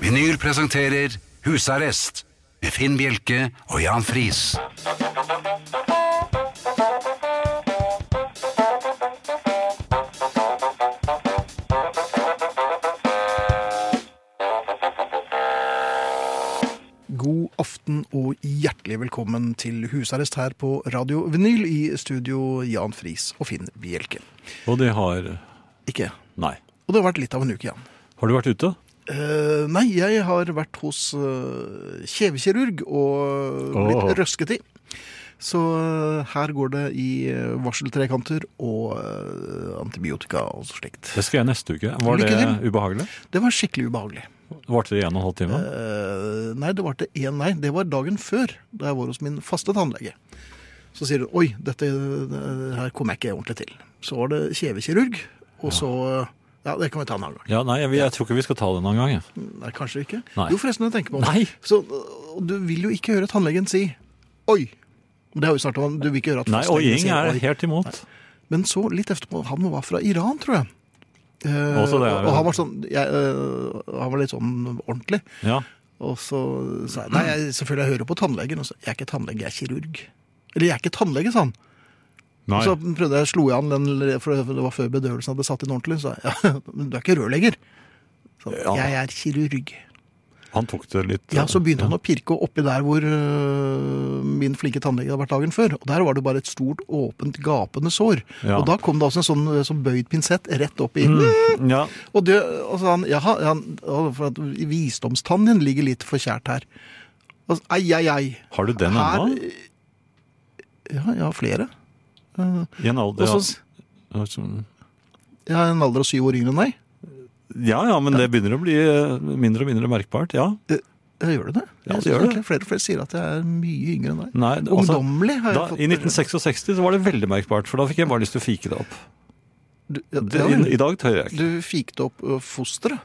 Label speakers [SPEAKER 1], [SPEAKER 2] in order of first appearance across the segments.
[SPEAKER 1] Vinyl presenterer Husarrest med Finn Bjelke og Jan Friis.
[SPEAKER 2] God aften og hjertelig velkommen til husarrest her på Radio Vinyl i studio Jan Friis og Finn Bjelke.
[SPEAKER 3] Og det har
[SPEAKER 2] Ikke?
[SPEAKER 3] Nei.
[SPEAKER 2] Og det har vært litt av en uke, Jan.
[SPEAKER 3] Har du vært ute?
[SPEAKER 2] Eh, nei, jeg har vært hos eh, kjevekirurg og blitt
[SPEAKER 3] Åh.
[SPEAKER 2] røsket i. Så eh, her går det i eh, varseltrekanter og eh, antibiotika og slikt.
[SPEAKER 3] Det skal jeg neste uke. Var
[SPEAKER 2] Lykke
[SPEAKER 3] det
[SPEAKER 2] til.
[SPEAKER 3] ubehagelig?
[SPEAKER 2] Det var skikkelig ubehagelig.
[SPEAKER 3] Varte det i en og en halv time?
[SPEAKER 2] Eh, nei, det var til én nei. Det var dagen før, da jeg var hos min faste tannlege. Så sier hun oi, dette eh, her kom jeg ikke ordentlig til. Så var det kjevekirurg, og så Ja, det kan vi ta en annen gang.
[SPEAKER 3] Ja, nei, jeg, jeg tror ikke vi skal ta det noen gang. jeg.
[SPEAKER 2] Nei, kanskje ikke.
[SPEAKER 3] Nei.
[SPEAKER 2] Jo, forresten, jeg tenker på det.
[SPEAKER 3] Nei.
[SPEAKER 2] Så øh, du vil jo ikke høre tannlegen si oi. Det har vi snart om. Du vil ikke høre at
[SPEAKER 3] Nei, og
[SPEAKER 2] fastlegen
[SPEAKER 3] Ying
[SPEAKER 2] sier
[SPEAKER 3] er
[SPEAKER 2] «Oi».
[SPEAKER 3] helt imot.
[SPEAKER 2] Men så, litt etterpå, han var fra Iran, tror jeg. Eh,
[SPEAKER 3] Også det er
[SPEAKER 2] og
[SPEAKER 3] jo-
[SPEAKER 2] han var sånn jeg, øh, Han var litt sånn ordentlig.
[SPEAKER 3] Ja.
[SPEAKER 2] Og så sa jeg nei, jeg, selvfølgelig jeg hører på tannlegen. Og så, jeg er ikke tannlege, jeg er kirurg. Eller jeg er ikke tannlege, sa han.
[SPEAKER 3] Nei.
[SPEAKER 2] Og så prøvde jeg, slo jeg an den, for det var før bedøvelsen hadde satt inn ordentlig. Så sa jeg ja, men du er ikke rørlegger. Så,
[SPEAKER 3] Ja.
[SPEAKER 2] Jeg er kirurg.
[SPEAKER 3] Han tok det litt
[SPEAKER 2] Ja, så begynte han å pirke oppi der hvor øh, min flinke tannlege hadde vært dagen før. Og der var det bare et stort, åpent, gapende sår.
[SPEAKER 3] Ja. Mm.
[SPEAKER 2] Og da kom det altså en sånn, øh, sånn bøyd pinsett rett opp i
[SPEAKER 3] Ja.
[SPEAKER 2] Og det, og så han, jaha, han, å, for at visdomstannen din ligger litt for kjært her. Og, så, ei, ei, ei.
[SPEAKER 3] Har du den
[SPEAKER 2] Her-
[SPEAKER 3] ennå?
[SPEAKER 2] Ja, jeg har flere.
[SPEAKER 3] I en alder
[SPEAKER 2] Og så,
[SPEAKER 3] ja. som-
[SPEAKER 2] jeg har en alder av syv år yngre enn deg.
[SPEAKER 3] ja, ja, men det begynner å bli eh, mindre og mindre merkbart. Ja.
[SPEAKER 2] Ja, gjør du det?
[SPEAKER 3] Ja,
[SPEAKER 2] Jeg synes
[SPEAKER 3] det gjør det.
[SPEAKER 2] egentlig Flere og flere sier at jeg er mye yngre enn deg.
[SPEAKER 3] Nei, altså,
[SPEAKER 2] Ungdommelig har jeg
[SPEAKER 3] da,
[SPEAKER 2] fått
[SPEAKER 3] I 1966 så var det veldig merkbart, for da fikk jeg bare lyst til å fike det opp.
[SPEAKER 2] Du, ja,
[SPEAKER 3] Det,
[SPEAKER 2] ja,
[SPEAKER 3] i, I dag tør jeg ikke.
[SPEAKER 2] du fikk det opp øh, fosteret.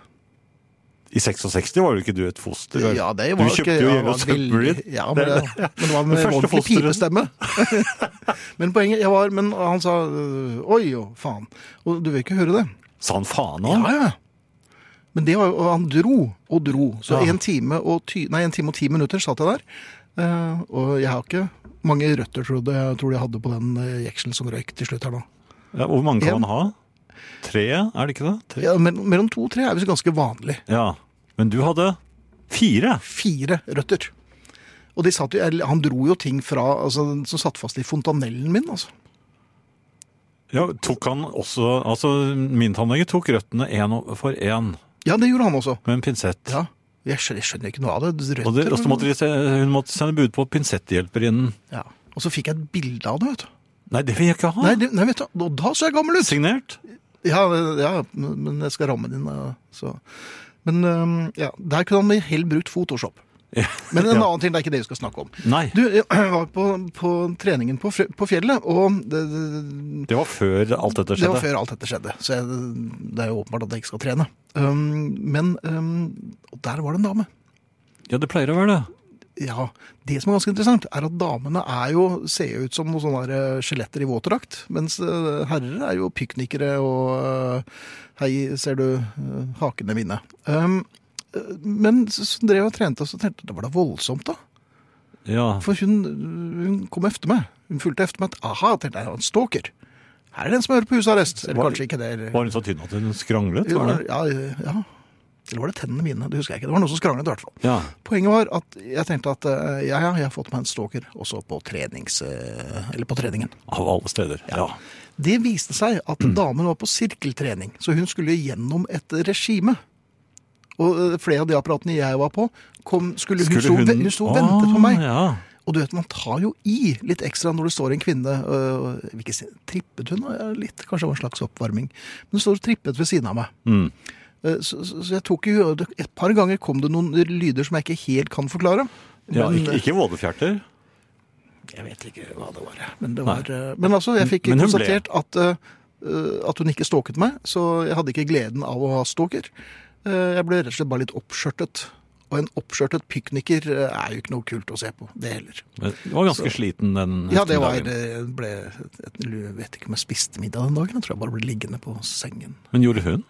[SPEAKER 3] I 66 var jo ikke du et foster. vel?
[SPEAKER 2] Ja, det
[SPEAKER 3] Du
[SPEAKER 2] var
[SPEAKER 3] kjøpte
[SPEAKER 2] ikke-
[SPEAKER 3] jo
[SPEAKER 2] ja,
[SPEAKER 3] Yellow
[SPEAKER 2] det var veldig-
[SPEAKER 3] Submarine.
[SPEAKER 2] Ja, men det, men det var med
[SPEAKER 3] Det første
[SPEAKER 2] ordentlig
[SPEAKER 3] fosteret.
[SPEAKER 2] pipestemme. men poenget jeg var, men han sa øh, oi og faen. Og du vil ikke høre det.
[SPEAKER 3] Sa han faen òg?
[SPEAKER 2] Ja, ja. Men det var jo, og han dro og dro. Så
[SPEAKER 3] Ja.
[SPEAKER 2] en, time og ty, nei, en time og ti minutter satt jeg der. Eh, og jeg har ikke mange røtter, tror jeg, jeg tror jeg hadde på den eh, jekselen som røyk til slutt her nå.
[SPEAKER 3] Ja, hvor mange kan
[SPEAKER 2] En.
[SPEAKER 3] man ha? Tre, er det ikke det? Tre?
[SPEAKER 2] Ja, mellom, mellom to og tre er visst ganske vanlig.
[SPEAKER 3] Ja. Men du hadde fire.
[SPEAKER 2] Fire røtter. Og de satt jo, eller, han dro jo ting fra, altså, som satt fast i fontanellen min, altså.
[SPEAKER 3] Ja, tok han også, altså Min tannlege tok røttene én for én
[SPEAKER 2] Ja, det gjorde han også.
[SPEAKER 3] med en pinsett.
[SPEAKER 2] Ja. Jeg skjønner, jeg skjønner ikke noe av det. Røtter,
[SPEAKER 3] Og, det, og så måtte de, se- hun måtte sende bud på pinsetthjelperinnen.
[SPEAKER 2] ja. og så fikk jeg et bilde av det, vet du.
[SPEAKER 3] Nei, det vil jeg ikke ha!
[SPEAKER 2] Nei, det, nei vet du, og da så jeg gammel ut!
[SPEAKER 3] Signert.
[SPEAKER 2] Ja, ja, men jeg skal ramme din. ja, Så. Men øhm, ja, der kunne han helt brukt Photoshop. Men en
[SPEAKER 3] Ja.
[SPEAKER 2] annen ting, det er ikke det vi skal snakke om.
[SPEAKER 3] Nei.
[SPEAKER 2] Du, jeg var på, på treningen på, fre- på fjellet, og det, det,
[SPEAKER 3] Det var før alt dette
[SPEAKER 2] det var
[SPEAKER 3] skjedde.
[SPEAKER 2] før alt dette skjedde. Så jeg, det er jo åpenbart at jeg ikke skal trene. Øhm, men øhm, og der var det en dame.
[SPEAKER 3] Ja, det pleier å være det.
[SPEAKER 2] Ja, Det som er ganske interessant, er at damene er jo, ser ut som noen sånne der, eh, skjeletter i våtdrakt. Mens eh, herrer er jo piknikere og eh, Hei, ser du eh, hakene mine. Um, eh, men så så drev jeg og trente, og så tenkte jeg det var da voldsomt, da.
[SPEAKER 3] Ja.
[SPEAKER 2] For hun, hun kom efter meg. Hun fulgte efter meg. Aha, tenkte jeg, han stalker. Her er det en som hører på husarrest. Eller
[SPEAKER 3] Var-
[SPEAKER 2] kanskje ikke det. Eller,
[SPEAKER 3] Var hun så tynn at hun skranglet? Var det?
[SPEAKER 2] ja, ja. Eller var det tennene mine? Det husker jeg ikke. Det var noen som skranglet, i hvert fall.
[SPEAKER 3] Ja.
[SPEAKER 2] Poenget var at jeg tenkte at eh, ja, ja, jeg har fått meg en stalker også på, trenings, eh, eller på treningen.
[SPEAKER 3] Av alle steder. Ja.
[SPEAKER 2] Det viste seg at damen var på sirkeltrening, så hun skulle gjennom et regime. Og eh, flere av de apparatene jeg var på, kom, skulle, hun, sto, ve- hun sto og ventet på
[SPEAKER 3] Ah,
[SPEAKER 2] meg.
[SPEAKER 3] Ja.
[SPEAKER 2] Og du vet, man tar jo i litt ekstra når det står en kvinne øh, jeg vil ikke si, Trippet hun? Ja, Litt, kanskje det var en slags oppvarming. Men hun står og trippet ved siden av meg.
[SPEAKER 3] Mm.
[SPEAKER 2] Eh, Så, så, så jeg tok jo Et par ganger kom det noen lyder som jeg ikke helt kan forklare.
[SPEAKER 3] ja
[SPEAKER 2] Men-
[SPEAKER 3] ikke, ikke vådefjerter.
[SPEAKER 2] Jeg vet ikke hva det var. jeg. Men, det var, eh, men altså, jeg fikk
[SPEAKER 3] Men hun ble.
[SPEAKER 2] konstatert at, eh, at hun ikke stalket meg, så jeg hadde ikke gleden av å ha stalker. Eh, Jeg ble rett og slett bare litt oppskjørtet. Og en oppskjørtet pikniker eh, er jo ikke noe kult å se på, det heller.
[SPEAKER 3] Men du var ganske sliten den
[SPEAKER 2] Ja, det var,
[SPEAKER 3] ettermiddagen.
[SPEAKER 2] eh, ble, jeg vet ikke om jeg spiste middag den dagen, jeg tror jeg bare ble liggende på sengen.
[SPEAKER 3] Men gjorde hun?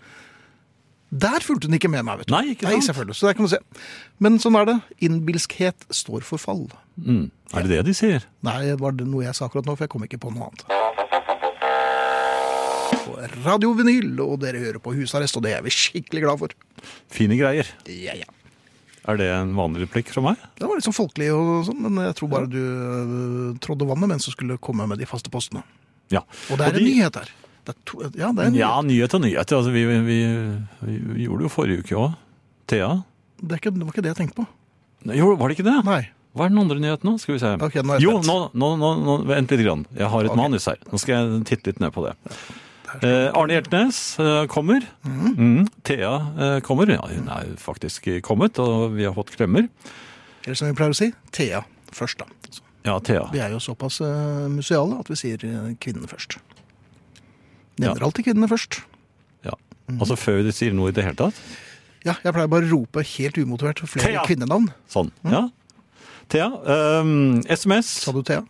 [SPEAKER 2] Der fulgte hun ikke med meg, vet du.
[SPEAKER 3] Nei, ikke
[SPEAKER 2] Nei,
[SPEAKER 3] sant?
[SPEAKER 2] selvfølgelig. Så der kan du se. Men sånn er det. Innbilskhet står for fall.
[SPEAKER 3] Mm. Er det det de sier?
[SPEAKER 2] Nei, det var det noe jeg sa akkurat nå, for jeg kom ikke på noe annet. På Radio Vinyl, og dere hører på husarrest, og det er vi skikkelig glad for.
[SPEAKER 3] Fine greier.
[SPEAKER 2] Ja, ja.
[SPEAKER 3] Er det en vanlig replikk fra meg?
[SPEAKER 2] Det var litt sånn folkelig og sånn, men jeg tror bare du øh, trådde vannet mens du skulle komme med de faste postene.
[SPEAKER 3] Ja.
[SPEAKER 2] Og det er en
[SPEAKER 3] de-
[SPEAKER 2] nyhet her. Det er to, ja, det er, en,
[SPEAKER 3] Ja, nyhet og nyhet. Altså, vi, vi, vi gjorde det jo forrige uke òg. Thea?
[SPEAKER 2] det, er ikke, det var ikke det jeg tenkte på.
[SPEAKER 3] Nei, Jo, var det ikke det?
[SPEAKER 2] Nei.
[SPEAKER 3] Hva er den andre nyheten nå? Skal vi se.
[SPEAKER 2] Ok, nå er jeg
[SPEAKER 3] jo,
[SPEAKER 2] spent.
[SPEAKER 3] nå, nå, nå, nå, vent litt. Grann. Jeg har et
[SPEAKER 2] Ok.
[SPEAKER 3] manus her. Nå skal jeg titte litt ned på det. Eh, Arne Hjeltnes eh, kommer.
[SPEAKER 2] Mhm.
[SPEAKER 3] Mm, Thea eh, kommer. Ja, hun er faktisk kommet, og vi har fått klemmer.
[SPEAKER 2] Eller som vi pleier å si, Thea først, da. Så
[SPEAKER 3] Ja, Thea.
[SPEAKER 2] Vi er jo såpass øh, museale at vi sier øh, kvinnen først.
[SPEAKER 3] Ja.
[SPEAKER 2] Nevner alltid kvinnene først.
[SPEAKER 3] Ja. Altså før de sier noe i det hele tatt.
[SPEAKER 2] Ja, jeg pleier bare å rope helt umotivert flere
[SPEAKER 3] Thea!
[SPEAKER 2] kvinnenavn.
[SPEAKER 3] Sånn.
[SPEAKER 2] Mm.
[SPEAKER 3] Ja. Thea. ehm, SMS.
[SPEAKER 2] Sa du Thea?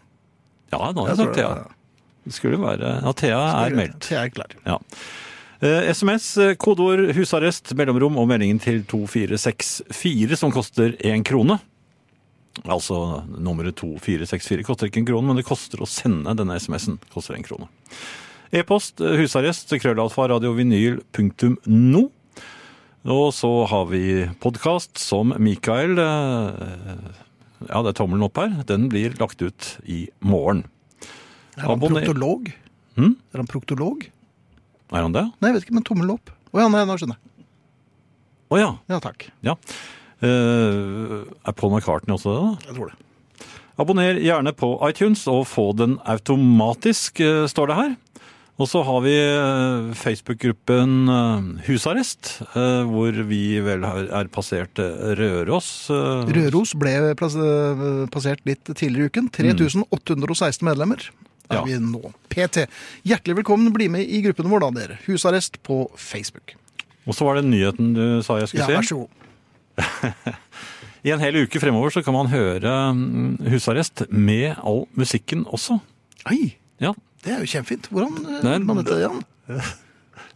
[SPEAKER 3] Ja, nå har
[SPEAKER 2] Sånn. Jeg tror
[SPEAKER 3] jeg sagt
[SPEAKER 2] det-
[SPEAKER 3] Thea. Det skulle være Ja, Thea er meldt.
[SPEAKER 2] Thea er klar.
[SPEAKER 3] Ja. Eh, SMS, eh, kodeord husarrest, mellomrom og meldingen til 2464 som koster én krone. Altså nummeret 2464 koster ikke en krone, men det koster å sende denne SMS-en. Koster en krone. E-post eh, husarrest krøllalfa radiovinyl.no. Og så har vi podkast som Mikael eh, Ja, det er tommelen opp her. Den blir lagt ut i morgen.
[SPEAKER 2] Er han
[SPEAKER 3] Abonner.
[SPEAKER 2] proktolog?
[SPEAKER 3] Hm?
[SPEAKER 2] Er han proktolog?
[SPEAKER 3] Er han det?
[SPEAKER 2] Nei, jeg vet ikke, men tommel opp. Å ja, nei, nå skjønner jeg.
[SPEAKER 3] Å ja.
[SPEAKER 2] Ja, takk.
[SPEAKER 3] Ja. Eh, er Paul McCartney også det, da?
[SPEAKER 2] Jeg tror det.
[SPEAKER 3] Abonner gjerne på iTunes og få den automatisk, eh, står det her. Og så har vi eh, Facebook-gruppen eh, Husarrest, eh, hvor vi vel har- er passert eh, Røros. eh,
[SPEAKER 2] Røros ble plass, eh, passert litt tidligere i uken. 3816 medlemmer er
[SPEAKER 3] Mm. Ja.
[SPEAKER 2] vi nå. PT. Hjertelig velkommen. Bli med i gruppen vår da, dere. Husarrest på Facebook.
[SPEAKER 3] Og så var det nyheten du sa jeg
[SPEAKER 2] Ja,
[SPEAKER 3] skulle
[SPEAKER 2] vær
[SPEAKER 3] si.
[SPEAKER 2] så god.
[SPEAKER 3] I en hel uke fremover så kan man høre mm, Husarrest med all musikken også.
[SPEAKER 2] Ei,
[SPEAKER 3] Ja.
[SPEAKER 2] det er jo kjempefint. Hvordan eh,
[SPEAKER 3] Nei,
[SPEAKER 2] gjorde man dette igjen?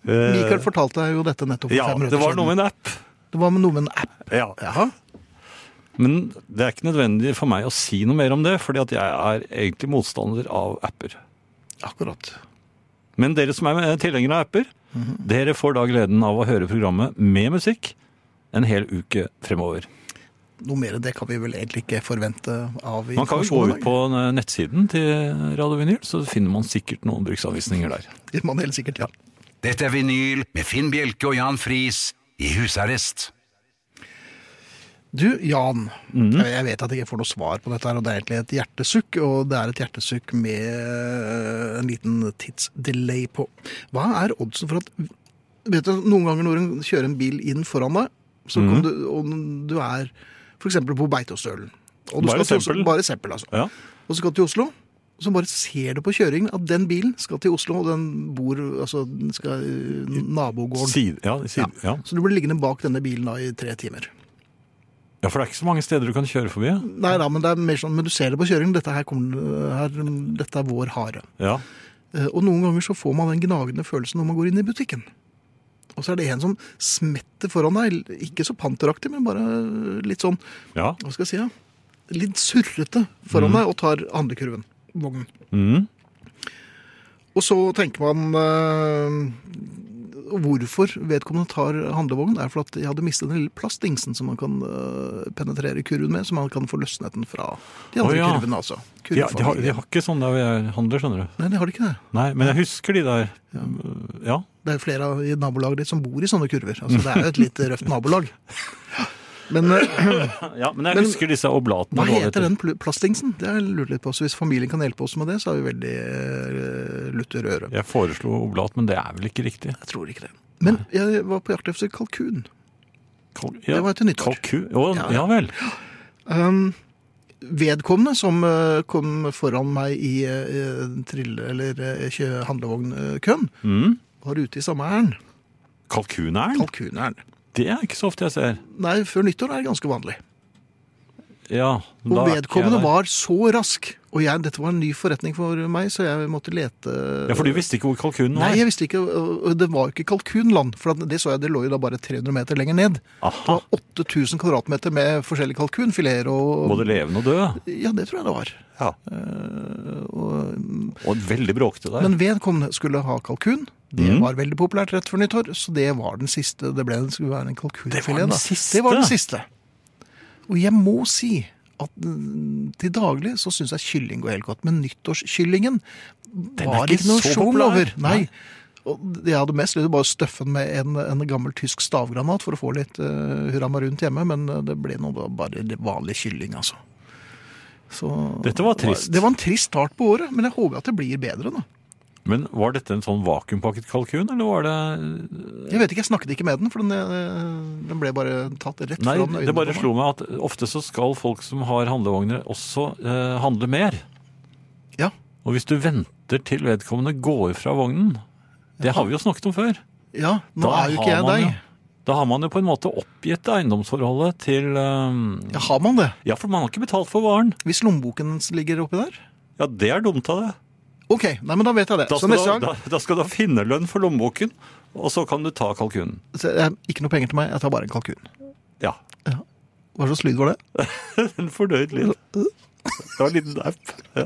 [SPEAKER 2] Mikael fortalte deg jo dette nettopp for
[SPEAKER 3] Eh, ja,
[SPEAKER 2] Eh, fem minutter
[SPEAKER 3] det var noe med en app.
[SPEAKER 2] Det var noe med en app.
[SPEAKER 3] Ja.
[SPEAKER 2] Jaha.
[SPEAKER 3] Men det er ikke nødvendig for meg å si noe mer om det, fordi at jeg er egentlig motstander av apper.
[SPEAKER 2] Akkurat.
[SPEAKER 3] Men dere som er tilhengere av apper,
[SPEAKER 2] Mhm.
[SPEAKER 3] dere får da gleden av å høre programmet med musikk en hel uke fremover.
[SPEAKER 2] Noe mer enn det kan vi vel egentlig ikke forvente av
[SPEAKER 3] Man kan jo gå
[SPEAKER 2] informasjon i
[SPEAKER 3] ut
[SPEAKER 2] dag.
[SPEAKER 3] på nettsiden til Radio Vinyl, så finner man sikkert noen bruksanvisninger der.
[SPEAKER 2] Det må man helt sikkert, ja.
[SPEAKER 1] Dette er vinyl med Finn Bjelke og Jan Friis i husarrest.
[SPEAKER 2] Du, Jan.
[SPEAKER 3] Mhm.
[SPEAKER 2] Jeg- Jeg vet at jeg ikke får noe svar på dette, her, og det er egentlig et hjertesukk. Og det er et hjertesukk med øh, en liten tidsdelay på. Hva er oddsen for at Vet du, Noen ganger når du kjører en bil inn foran deg, så
[SPEAKER 3] Mhm.
[SPEAKER 2] kan du, og du er f.eks. på Beitostølen og du
[SPEAKER 3] Bare
[SPEAKER 2] skal til Oslo-
[SPEAKER 3] eksempel.
[SPEAKER 2] Bare eksempel, altså.
[SPEAKER 3] Ja.
[SPEAKER 2] Og så skal du til Oslo, og så bare ser du på kjøringen at den bilen skal til Oslo, og den bor altså, den skal i nabogården.
[SPEAKER 3] Side, ja, side, ja.
[SPEAKER 2] Så du blir liggende bak denne bilen da i tre timer.
[SPEAKER 3] ja, for det er ikke så mange steder du kan kjøre forbi.
[SPEAKER 2] Nei da, men det er mer sånn, men du ser det på kjøringen. Dette, her kommer, her, dette er vår hare.
[SPEAKER 3] Ja.
[SPEAKER 2] Eh, Og noen ganger så får man den gnagende følelsen når man går inn i butikken. Og så er det en som smetter foran deg, ikke så panteraktig, men bare litt sånn,
[SPEAKER 3] ja.
[SPEAKER 2] hva skal jeg si, ja? litt surrete foran deg og tar handlekurven, vognen.
[SPEAKER 3] Mm.
[SPEAKER 2] Og så tenker man eh, hvorfor vedkommende tar handlevogn. er fordi at jeg hadde mistet den lille plastdingsen som man kan eh, penetrere kurven med. Så man kan få løsnet den fra de andre
[SPEAKER 3] Å, ja.
[SPEAKER 2] kurvene, altså.
[SPEAKER 3] De, har- de, har, de
[SPEAKER 2] Kurvefamilien.
[SPEAKER 3] har ikke sånn der hvor jeg handler, skjønner du.
[SPEAKER 2] Nei, de har det ikke det.
[SPEAKER 3] Nei, men jeg husker de der. Ja,
[SPEAKER 2] Det er flere av- i nabolaget ditt som bor i sånne kurver. Altså, det er jo et litt røft nabolag. Men eh,
[SPEAKER 3] ja men jeg
[SPEAKER 2] Men-
[SPEAKER 3] husker disse
[SPEAKER 2] hva
[SPEAKER 3] oblatene. og hva
[SPEAKER 2] heter
[SPEAKER 3] det
[SPEAKER 2] den pl- plastdingsen? Det har jeg lurt litt på. Så hvis familien kan hjelpe oss med det, så er vi veldig eh, lutter øre.
[SPEAKER 3] Jeg foreslo oblat, men det er vel ikke riktig.
[SPEAKER 2] Jeg tror ikke det. Men jeg var på jakt efter kalkun.
[SPEAKER 3] Kal ja.
[SPEAKER 2] Det var etter nyttår.
[SPEAKER 3] Kalkun? Å,
[SPEAKER 2] Ja.
[SPEAKER 3] ja. vel.
[SPEAKER 2] Um, vedkommende som eh, kom foran meg i eh, trille- eller eh, kjø- handlevognkøen,
[SPEAKER 3] Mm.
[SPEAKER 2] var ute i samme ærend.
[SPEAKER 3] Kalkuneren?
[SPEAKER 2] Kalkunærend.
[SPEAKER 3] Det er ikke så ofte jeg ser.
[SPEAKER 2] Nei, før nyttår er det ganske vanlig.
[SPEAKER 3] Ja,
[SPEAKER 2] Og
[SPEAKER 3] da er ikke
[SPEAKER 2] vedkommende
[SPEAKER 3] jeg der.
[SPEAKER 2] var så rask. Og jeg, dette var en ny forretning for meg, så jeg måtte lete
[SPEAKER 3] Ja, For du visste ikke hvor kalkunen var?
[SPEAKER 2] Nei, jeg visste ikke. og Det var jo ikke kalkunland. For at det så jeg, det lå jo da bare 300 meter lenger ned.
[SPEAKER 3] Aha,
[SPEAKER 2] Det var 8000 kvadratmeter med forskjellige kalkunfileter og
[SPEAKER 3] Både levende og død?
[SPEAKER 2] Ja, det tror jeg det var.
[SPEAKER 3] Ja. Og veldig bråkete der.
[SPEAKER 2] Men vedkommende skulle ha kalkun. Det
[SPEAKER 3] Mm.
[SPEAKER 2] var veldig populært rett før nyttår, så det var den siste. Det ble, det skulle være en kalkunfilet.
[SPEAKER 3] Det var den
[SPEAKER 2] da.
[SPEAKER 3] siste?
[SPEAKER 2] Det var den siste. Og jeg må si at mm, til daglig så syns jeg kylling går helt godt, men nyttårskyllingen
[SPEAKER 3] er
[SPEAKER 2] var
[SPEAKER 3] ikke
[SPEAKER 2] ikke noe
[SPEAKER 3] så
[SPEAKER 2] sjokk
[SPEAKER 3] populær.
[SPEAKER 2] over. Nei. Og det jeg hadde mest lyst til bare å støffe den med en, en gammel tysk stavgranat for å få litt uh, hurra meg rundt hjemme, men eh, det ble nå da bare vanlig kylling, altså. Så,
[SPEAKER 3] Dette var trist.
[SPEAKER 2] Det var en trist start på året, men jeg håper at det blir bedre nå.
[SPEAKER 3] Men var dette en sånn vakuumpakket kalkun, eller var det
[SPEAKER 2] Jeg vet ikke, jeg snakket ikke med den, for den, eh, den ble bare tatt rett
[SPEAKER 3] Nei,
[SPEAKER 2] foran øynene
[SPEAKER 3] det bare
[SPEAKER 2] på meg.
[SPEAKER 3] slo meg at ofte så skal folk som har handlevogner, også eh, handle mer.
[SPEAKER 2] Ja,
[SPEAKER 3] Og hvis du venter til vedkommende går fra vognen Det har vi jo snakket om før.
[SPEAKER 2] ja nå
[SPEAKER 3] Da
[SPEAKER 2] er jo ikke
[SPEAKER 3] har
[SPEAKER 2] jeg
[SPEAKER 3] man
[SPEAKER 2] deg.
[SPEAKER 3] jo- Da har man jo på en måte oppgitt eiendomsforholdet til eh,
[SPEAKER 2] Ja, har man det?
[SPEAKER 3] Ja, for man har ikke betalt for varen.
[SPEAKER 2] Hvis lommeboken ligger oppi der?
[SPEAKER 3] Ja, det er dumt av det.
[SPEAKER 2] Ok, nei, men da vet jeg det.
[SPEAKER 3] Da
[SPEAKER 2] Så
[SPEAKER 3] skal,
[SPEAKER 2] neste
[SPEAKER 3] du, ha-
[SPEAKER 2] gang,
[SPEAKER 3] da, da skal du ha finnerlønn for lommeboken, og så kan du ta kalkunen.
[SPEAKER 2] så, eh, ikke noe penger til meg, jeg tar bare en kalkun.
[SPEAKER 3] Ja.
[SPEAKER 2] Hva slags lyd var det?
[SPEAKER 3] En fordøyd lyd. Det var en liten dapp. Ja.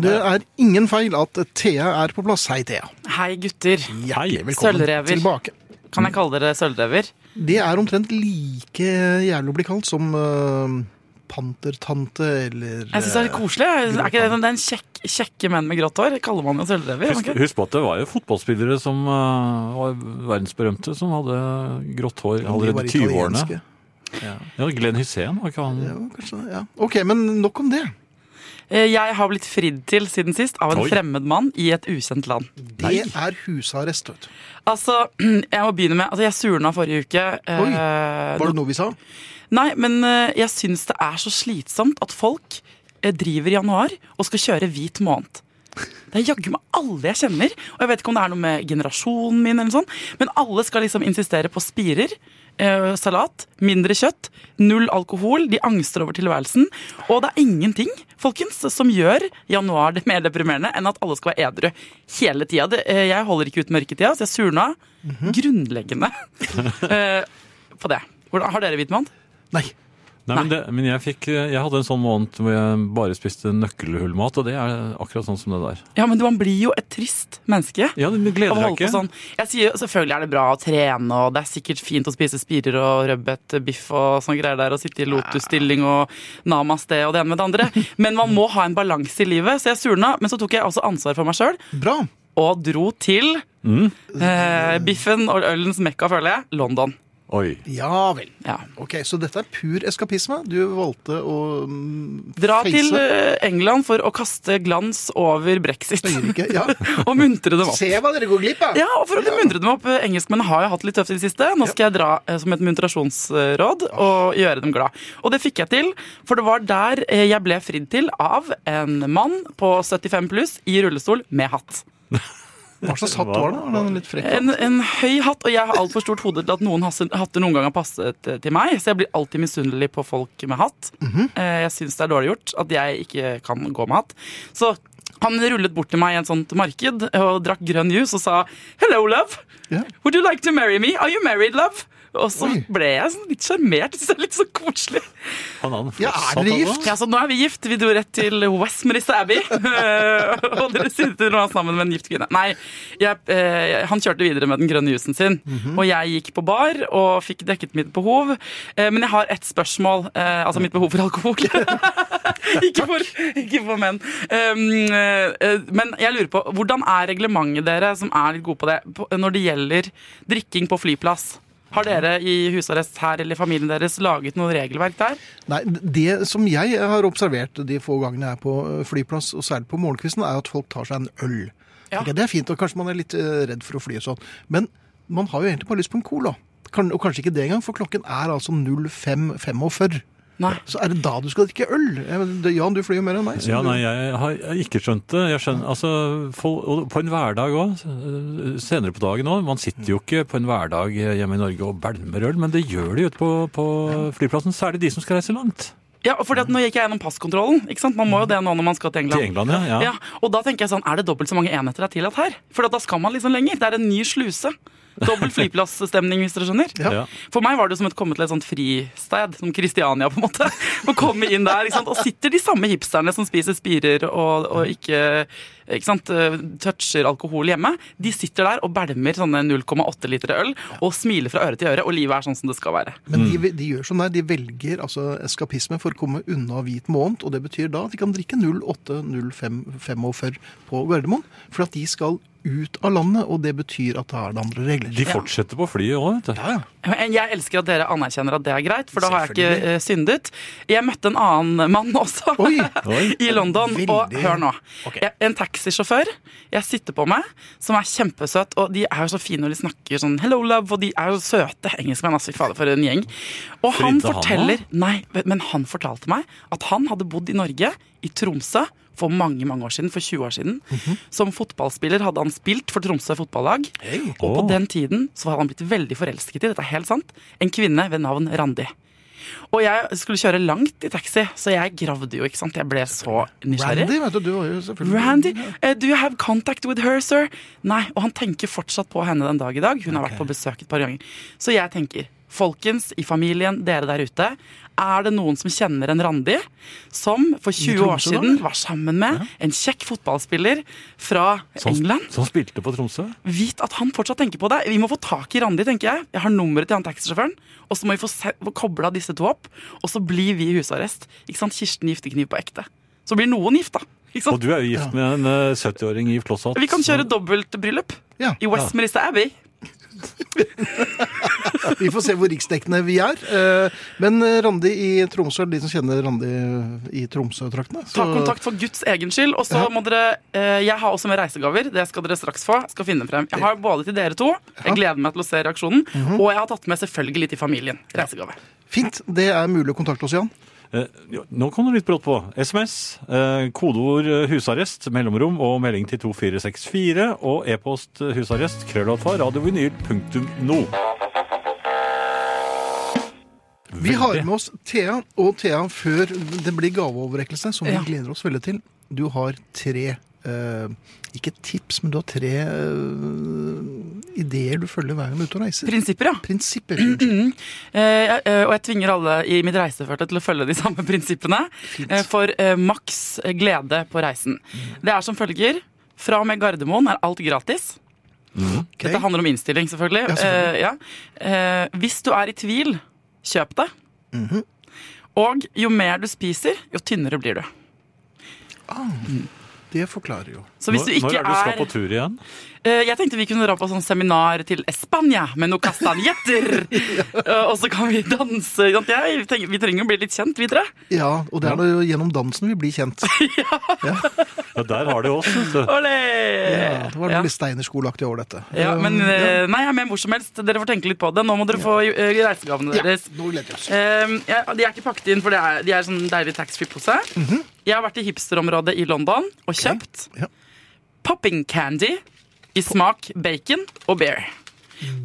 [SPEAKER 2] Det er ingen feil at Thea er på plass. Hei, Thea.
[SPEAKER 4] Hei, gutter.
[SPEAKER 3] Hei,
[SPEAKER 2] Velkommen
[SPEAKER 4] Sølvrever.
[SPEAKER 2] tilbake.
[SPEAKER 4] Kan jeg kalle dere sølvrever?
[SPEAKER 2] Det er omtrent like jævlig å bli kalt som eh, pantertante eller
[SPEAKER 4] Jeg syns det er
[SPEAKER 2] eh,
[SPEAKER 4] koselig. Er ikke det den- den kjekk, kjekke menn med grått hår? Kaller man jo sølvrever? gjør man
[SPEAKER 3] Husk,
[SPEAKER 4] ikke?
[SPEAKER 3] husk på at det var jo fotballspillere som eh, var verdensberømte, som hadde grått hår
[SPEAKER 2] de var
[SPEAKER 3] allerede i 20-årene.
[SPEAKER 2] italienske.
[SPEAKER 3] Ja, Glenn Hussein var ikke han
[SPEAKER 2] Ja, kanskje, ja. Ok, men nok om det.
[SPEAKER 4] Eh, Jeg har blitt fridd til siden sist av en
[SPEAKER 3] Oi.
[SPEAKER 4] fremmed mann i et ukjent land.
[SPEAKER 2] Det er husarrest, vet du.
[SPEAKER 4] Altså, Jeg må begynne med, altså jeg surna forrige uke. eh,
[SPEAKER 2] Oi, Var det noe vi sa?
[SPEAKER 4] Nei, men eh, jeg syns det er så slitsomt at folk eh, driver i januar og skal kjøre hvit måned. Det er jaggu meg alle jeg kjenner. Og jeg vet ikke om det er noe med generasjonen min, eller sånn, men alle skal liksom insistere på spirer. eh, salat, mindre kjøtt, null alkohol. De angster over tilværelsen. Og det er ingenting folkens, som gjør januar det mer deprimerende enn at alle skal være edru hele tida. Det, eh, Jeg holder ikke ut mørketida, så jeg surna grunnleggende eh, på det. Hvordan, har dere hvit måned?
[SPEAKER 2] Nei.
[SPEAKER 3] Nei, men, det, men jeg, fikk, eh, jeg hadde en sånn måned hvor jeg bare spiste nøkkelhullmat, og det er akkurat sånn som det der.
[SPEAKER 4] Ja, men man blir jo et trist menneske.
[SPEAKER 3] Ja, men gleder
[SPEAKER 4] Av å
[SPEAKER 3] deg
[SPEAKER 4] holde på
[SPEAKER 3] ikke.
[SPEAKER 4] sånn. Jeg sier jo, Selvfølgelig er det bra å trene, og det er sikkert fint å spise spirer og rødbet, biff og sånne greier der, og sitte i lotusstilling og namaste og det ene med det andre. Men man må ha en balanse i livet, så jeg surna. Men så tok jeg også ansvar for meg sjøl
[SPEAKER 2] Bra.
[SPEAKER 4] og dro til
[SPEAKER 3] Mm.
[SPEAKER 4] eh, biffen og ølens mekka, føler jeg, London.
[SPEAKER 3] Oi.
[SPEAKER 2] Ja vel.
[SPEAKER 4] Ja.
[SPEAKER 2] Ok, Så dette er pur eskapisme. Du valgte å mm,
[SPEAKER 4] Dra
[SPEAKER 2] face
[SPEAKER 4] til eh, England for å kaste glans over brexit
[SPEAKER 2] Øyriket. Ja.
[SPEAKER 4] og muntre dem opp.
[SPEAKER 2] Se hva dere går glipp av!
[SPEAKER 4] eh, Ja, og for å muntre dem opp. eh, Engelskmennene har jo hatt litt tøft i det siste. Nå skal jeg dra eh, som et muntrasjonsråd og gjøre dem glad. Og det fikk jeg til, for det var der eh, jeg ble fridd til av en mann på 75 pluss i rullestol med hatt.
[SPEAKER 2] Hva slags hatt var det? Var den litt frekk?
[SPEAKER 4] En, en høy hatt, og jeg har altfor stort hode til at noen hasse- hatter noen gang har passet eh, til meg, så jeg blir alltid misunnelig på folk med hatt.
[SPEAKER 2] Mhm.
[SPEAKER 4] Eh, Jeg syns det er dårlig gjort at jeg ikke kan gå med hatt. Så han rullet bort til meg i et sånt marked og drakk grønn juice og sa 'hello, love'.
[SPEAKER 2] Ja.
[SPEAKER 4] Would you like to marry me? Are you married, love? Og så
[SPEAKER 2] Oi.
[SPEAKER 4] ble jeg sånn litt sjarmert. Det er litt så koselig.
[SPEAKER 3] Han hadde en
[SPEAKER 2] Ja, er dere
[SPEAKER 3] flosshatt, han da.
[SPEAKER 2] gift?
[SPEAKER 4] Ja, så nå er vi gift. Vi dro rett til Westminster Abbey. og dere sitter nå sammen med en gift kvinne. Nei, jeg, eh, han kjørte videre med den grønne jusen sin. Og jeg gikk på bar og fikk dekket mitt behov. Eh, men jeg har ett spørsmål. Eh, altså mitt behov for alkohol. ikke, for, ikke for menn. Um, eh, men jeg lurer på, hvordan er reglementet dere, som er litt gode på det, på, når det gjelder drikking på flyplass? Har dere i husarrest her eller i familien deres laget noe regelverk der?
[SPEAKER 2] Nei, Det som jeg har observert de få gangene jeg er på eh, flyplass, og særlig på morgenkvisten, er at folk tar seg en øl.
[SPEAKER 4] Ja.
[SPEAKER 2] Ok, det er fint, og kanskje man er litt eh, redd for å fly og sånn. Men man har jo egentlig bare lyst på en cola. Kan, og kanskje ikke det engang, for klokken er altså 05.45.
[SPEAKER 4] Nei.
[SPEAKER 2] Så er det da du skal drikke øl? Jeg mener, det- Jan, du flyr jo mer enn meg. så
[SPEAKER 3] Ja,
[SPEAKER 2] du-
[SPEAKER 3] nei, jeg har jeg har ikke skjønt det. Jeg skjønner, altså, fol- og på en hverdag òg, senere på dagen òg. Man sitter jo ikke på en hverdag eh, hjemme i Norge og bælmer øl, men det gjør de ute på, på flyplassen. Særlig de som skal reise langt.
[SPEAKER 4] Ja, fordi at nå gikk jeg gjennom passkontrollen. ikke sant? Man må jo det nå når man skal til
[SPEAKER 3] Til England,
[SPEAKER 4] England.
[SPEAKER 3] ja. ja.
[SPEAKER 4] Ja, og da tenker jeg sånn, Er det dobbelt så mange enheter det er tillatt her? For da skal man liksom lenger. Det er en ny sluse. Dobbel flyplassstemning, hvis dere skjønner.
[SPEAKER 2] Ja.
[SPEAKER 3] Ja.
[SPEAKER 4] For meg var det jo som et komme til et sånt fristed, som Kristiania, på en måte. Å komme inn der, ikke sant? Og sitter de samme hipsterne som spiser spirer og, og ikke, ikke sant, eh, toucher alkohol hjemme. De sitter der og bælmer sånne 0,8 liter øl og smiler fra øre til øre, og livet er sånn som det skal være.
[SPEAKER 2] Men de, de gjør som deg. De velger altså eskapisme for å komme unna hvit måned. Og det betyr da at de kan drikke 08-05-45 på Gardermoen. For at de skal ut av landet, og det betyr at da er det andre regler.
[SPEAKER 3] De fortsetter på flyet òg, vet du.
[SPEAKER 2] Ja, ja.
[SPEAKER 4] Men Jeg elsker at dere anerkjenner at det er greit, for da har jeg ikke
[SPEAKER 2] Selvfølgelig.
[SPEAKER 4] eh, syndet. Jeg møtte en annen mann også
[SPEAKER 2] Oi!
[SPEAKER 3] Oi.
[SPEAKER 4] i London. Og
[SPEAKER 2] Veldig.
[SPEAKER 4] hør nå.
[SPEAKER 2] Ok.
[SPEAKER 4] Jeg, en taxisjåfør jeg sitter på meg, som er kjempesøt. Og de er jo så fine, og de snakker sånn 'hello, love', og de er jo søte engelskmenn. Altså, fy fader, for en gjeng. Og han
[SPEAKER 3] Fridde han, da?
[SPEAKER 4] forteller Nei, men han fortalte meg at han hadde bodd i Norge, i Tromsø, for mange mange år siden, for 20 år siden.
[SPEAKER 2] Mhm.
[SPEAKER 4] Som fotballspiller hadde han spilt for Tromsø fotballag. Og på
[SPEAKER 3] Åh.
[SPEAKER 4] den tiden så hadde han blitt veldig forelsket i, dette er helt sant, en kvinne ved navn Randi. Og jeg skulle kjøre langt i taxi, så jeg gravde jo, ikke sant. Jeg ble så nysgjerrig.
[SPEAKER 2] Randy, vet du. Du var jo selvfølgelig
[SPEAKER 4] Randy, eh, do you have contact with her, sir? Nei, og han tenker fortsatt på henne den dag i dag. Hun har vært på besøk et par ganger. Så jeg tenker, folkens i familien, dere der ute, er det noen som kjenner en Randi som for 20 år
[SPEAKER 2] Tromsø da,
[SPEAKER 4] siden var sammen med en kjekk fotballspiller fra
[SPEAKER 3] Som,
[SPEAKER 4] England?
[SPEAKER 3] som spilte på Tromsø.
[SPEAKER 4] Vit at han fortsatt tenker på det. Vi må få tak i Randi, tenker jeg. Jeg har nummeret til han taxisjåføren. Og så må vi få, se, få kobla disse to opp, og så blir vi i husarrest. Ikke sant? Kirsten giftekniv på ekte. Så blir noen gift, da. Ikke
[SPEAKER 3] Og
[SPEAKER 4] sant?
[SPEAKER 3] du er jo gift med en eh, 70-åring i flosshatt.
[SPEAKER 4] Vi kan kjøre dobbeltbryllup
[SPEAKER 2] Ja.
[SPEAKER 4] i Westminster Abbey.
[SPEAKER 2] Vi får se hvor riksdekkende vi er. Eh, Men Randi i Tromsø, de som kjenner Randi i Tromsø-traktene
[SPEAKER 4] Ta
[SPEAKER 2] så-
[SPEAKER 4] kontakt for Guds egen skyld. Og så
[SPEAKER 2] Ja.
[SPEAKER 4] må dere eh, Jeg har også med reisegaver. Det skal dere straks få. Jeg Skal finne frem. Jeg har både til dere to. Jeg gleder meg til å se reaksjonen.
[SPEAKER 2] Mhm.
[SPEAKER 4] Og jeg har tatt med selvfølgelig til familien. Reisegave.
[SPEAKER 2] Fint. Det er mulig å kontakte oss, Jan.
[SPEAKER 3] Eh, jo, Nå kom det litt brått på. SMS, eh, kodeord eh, husarrest, mellomrom og melding til 2464 og e-post eh, husarrest krøllalfa radiovinyl.no.
[SPEAKER 2] Vi har med oss Thea, og Thea før det blir gaveoverrekkelse, som
[SPEAKER 4] Ja.
[SPEAKER 2] vi gleder oss veldig til. Du har tre eh, Ikke tips, men du har tre eh, ideer du følger hver gang du er ute og reiser.
[SPEAKER 4] Prinsipper, ja.
[SPEAKER 2] Prinsipper. unnskyld.
[SPEAKER 4] Eh, jeg- eh, og jeg tvinger alle i mitt reiseførte til å følge de samme prinsippene eh, for eh, maks glede på reisen. Det er som følger. Fra og med Gardermoen er alt gratis. Dette handler om innstilling,
[SPEAKER 2] Ja,
[SPEAKER 4] selvfølgelig.
[SPEAKER 2] selvfølgelig.
[SPEAKER 4] Eh, ja. Eh, hvis du er i tvil, kjøp det. Og jo mer du spiser, jo tynnere blir du.
[SPEAKER 2] Det forklarer jo.
[SPEAKER 4] Så hvis du ikke
[SPEAKER 3] Når er det du skal på tur igjen?
[SPEAKER 4] Eh, Jeg tenkte vi kunne dra på sånn seminar til Spania med noen kastanjetter. Eh, Og så kan vi danse. ikke sant? Jeg tenker, vi trenger å bli litt kjent, vi tre.
[SPEAKER 2] Ja, og det er jo gjennom dansen vi blir kjent.
[SPEAKER 3] Ja, der har de oss. vet du.
[SPEAKER 4] Olé!
[SPEAKER 2] Ja, det var
[SPEAKER 4] Ja.
[SPEAKER 2] litt steinerskoleaktig over dette.
[SPEAKER 4] Ja, men
[SPEAKER 2] Eh,
[SPEAKER 4] eh, nei, jeg er med hvor som helst. Dere får tenke litt på det. Nå må dere få eh, reisegavene
[SPEAKER 2] ja,
[SPEAKER 4] deres.
[SPEAKER 2] nå gleder vi oss.
[SPEAKER 4] Eh, jeg- de er ikke pakket inn, for det er, de er sånn deilig taxfree-pose. Jeg har vært i hipsterområdet i London og kjøpt
[SPEAKER 2] Mhm. Ja.
[SPEAKER 4] popping candy i smak bacon og beer.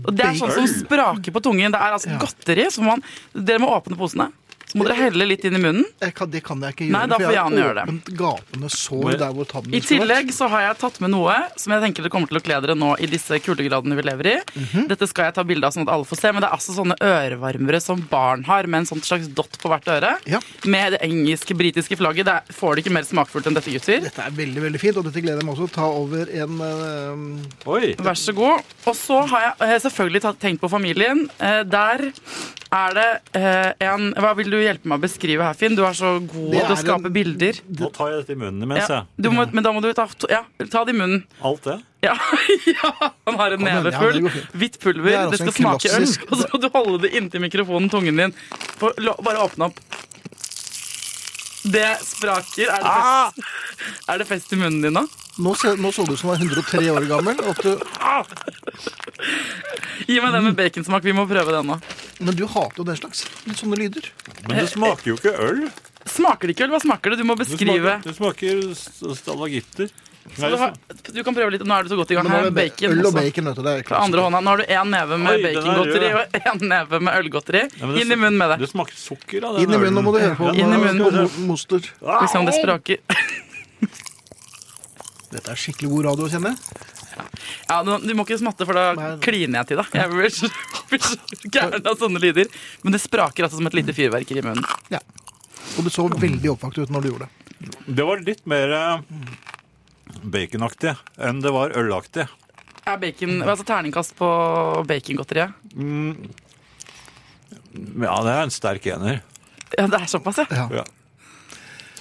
[SPEAKER 4] Og Det er sånn som spraker på tungen. Det er altså
[SPEAKER 2] Mm. Ja.
[SPEAKER 4] godteri. Som man, dere må åpne posene. Så må dere helle litt inn i munnen.
[SPEAKER 2] Jeg kan, det kan jeg ikke gjøre.
[SPEAKER 4] Nei, da
[SPEAKER 2] for
[SPEAKER 4] får
[SPEAKER 2] jeg har
[SPEAKER 4] Jan gjøre det.
[SPEAKER 2] åpent gapende sår
[SPEAKER 3] Men-
[SPEAKER 2] der hvor tannen
[SPEAKER 4] I
[SPEAKER 2] skulle vært.
[SPEAKER 4] tillegg så har jeg tatt med noe som jeg tenker det kommer til å kle dere nå i disse kuldegradene vi lever i.
[SPEAKER 2] Mhm.
[SPEAKER 4] Dette skal jeg ta bilde av sånn at alle får se, men det er altså sånne ørevarmere som barn har, med en sånn slags dott på hvert øre.
[SPEAKER 2] Ja.
[SPEAKER 4] Med det engelske, britiske flagget. Det er- får det ikke mer smakfullt enn dette, gutter.
[SPEAKER 2] Dette er veldig veldig fint, og dette gleder jeg meg også til å ta over en eh,
[SPEAKER 3] Oi!
[SPEAKER 4] Vær så god. Og så har jeg eh, selvfølgelig tatt, tenkt på familien. Eh, Der er det eh, en Hva vil du hjelpe meg å beskrive her, Finn? Du er så god
[SPEAKER 2] Det
[SPEAKER 4] til å
[SPEAKER 2] er
[SPEAKER 4] skape
[SPEAKER 2] en-
[SPEAKER 4] bilder.
[SPEAKER 3] Nå tar jeg dette i munnen imens,
[SPEAKER 4] Ja,
[SPEAKER 3] jeg.
[SPEAKER 4] du må, men da må du ta, ja, ta det i munnen.
[SPEAKER 3] Alt det.
[SPEAKER 4] Ja, ja, han har en
[SPEAKER 2] igjen, ja,
[SPEAKER 4] neve
[SPEAKER 2] det
[SPEAKER 4] full.
[SPEAKER 2] går fint.
[SPEAKER 4] Hvitt pulver.
[SPEAKER 2] Det er
[SPEAKER 4] Det,
[SPEAKER 2] altså
[SPEAKER 4] skal
[SPEAKER 2] en
[SPEAKER 4] smake øl.
[SPEAKER 2] klassisk-
[SPEAKER 4] Og så må du holde det inntil mikrofonen, tungen din. Og la, bare åpne opp. Det spraker. Er det,
[SPEAKER 2] Ah!
[SPEAKER 4] fest, er det fest i munnen din nå?
[SPEAKER 2] Nå, se, nå så du ut som du var 103 år gammel. og At du, Mm.
[SPEAKER 4] Gi meg den med baconsmak. Vi må prøve den nå.
[SPEAKER 2] Men du hater jo den slags. Litt sånne lyder.
[SPEAKER 3] Men det smaker jo ikke øl.
[SPEAKER 4] Smaker det ikke, eller hva smaker det? Du må
[SPEAKER 3] Det
[SPEAKER 4] beskrive.
[SPEAKER 3] smaker, det smaker st- stalagitter.
[SPEAKER 4] Skal Du, ha, du kan prøve litt. Nå er du så godt i gang
[SPEAKER 2] Men nå
[SPEAKER 4] her.
[SPEAKER 2] er det
[SPEAKER 4] Bacon
[SPEAKER 2] øl og
[SPEAKER 4] også.
[SPEAKER 2] bacon, vet du. Det er
[SPEAKER 4] Fra andre
[SPEAKER 2] klassiker.
[SPEAKER 4] hånda. Nå har du én neve
[SPEAKER 3] Oi,
[SPEAKER 4] med
[SPEAKER 3] den er
[SPEAKER 4] bacongodteri
[SPEAKER 3] rød.
[SPEAKER 4] og én neve med ølgodteri.
[SPEAKER 3] Nei, men det
[SPEAKER 4] Inn i
[SPEAKER 3] sm-
[SPEAKER 4] munnen med det.
[SPEAKER 3] Det smaker sukker av den
[SPEAKER 2] Inn i munnen, nå må du høre på.
[SPEAKER 4] Inn i munnen.
[SPEAKER 2] Og mo- Moster.
[SPEAKER 4] Skal vi se om liksom det spraker.
[SPEAKER 2] Dette er skikkelig god radio, kjenner jeg.
[SPEAKER 4] Ja, du, du må ikke smatte, for da
[SPEAKER 2] Nei.
[SPEAKER 4] kliner jeg til deg. Jeg blir så, blir så gæren av sånne lyder. Men det spraker altså som et lite fyrverkeri i munnen.
[SPEAKER 2] Ja. Og du så veldig oppvakt ut når du gjorde det.
[SPEAKER 3] Det var litt mer eh, baconaktig enn det var ølaktig.
[SPEAKER 4] Er bacon, altså Terningkast på bacongodteriet.
[SPEAKER 3] Men Ja, det er en sterk ener.
[SPEAKER 4] Ja, det er såpass, ja.
[SPEAKER 2] Ja.
[SPEAKER 3] Ja.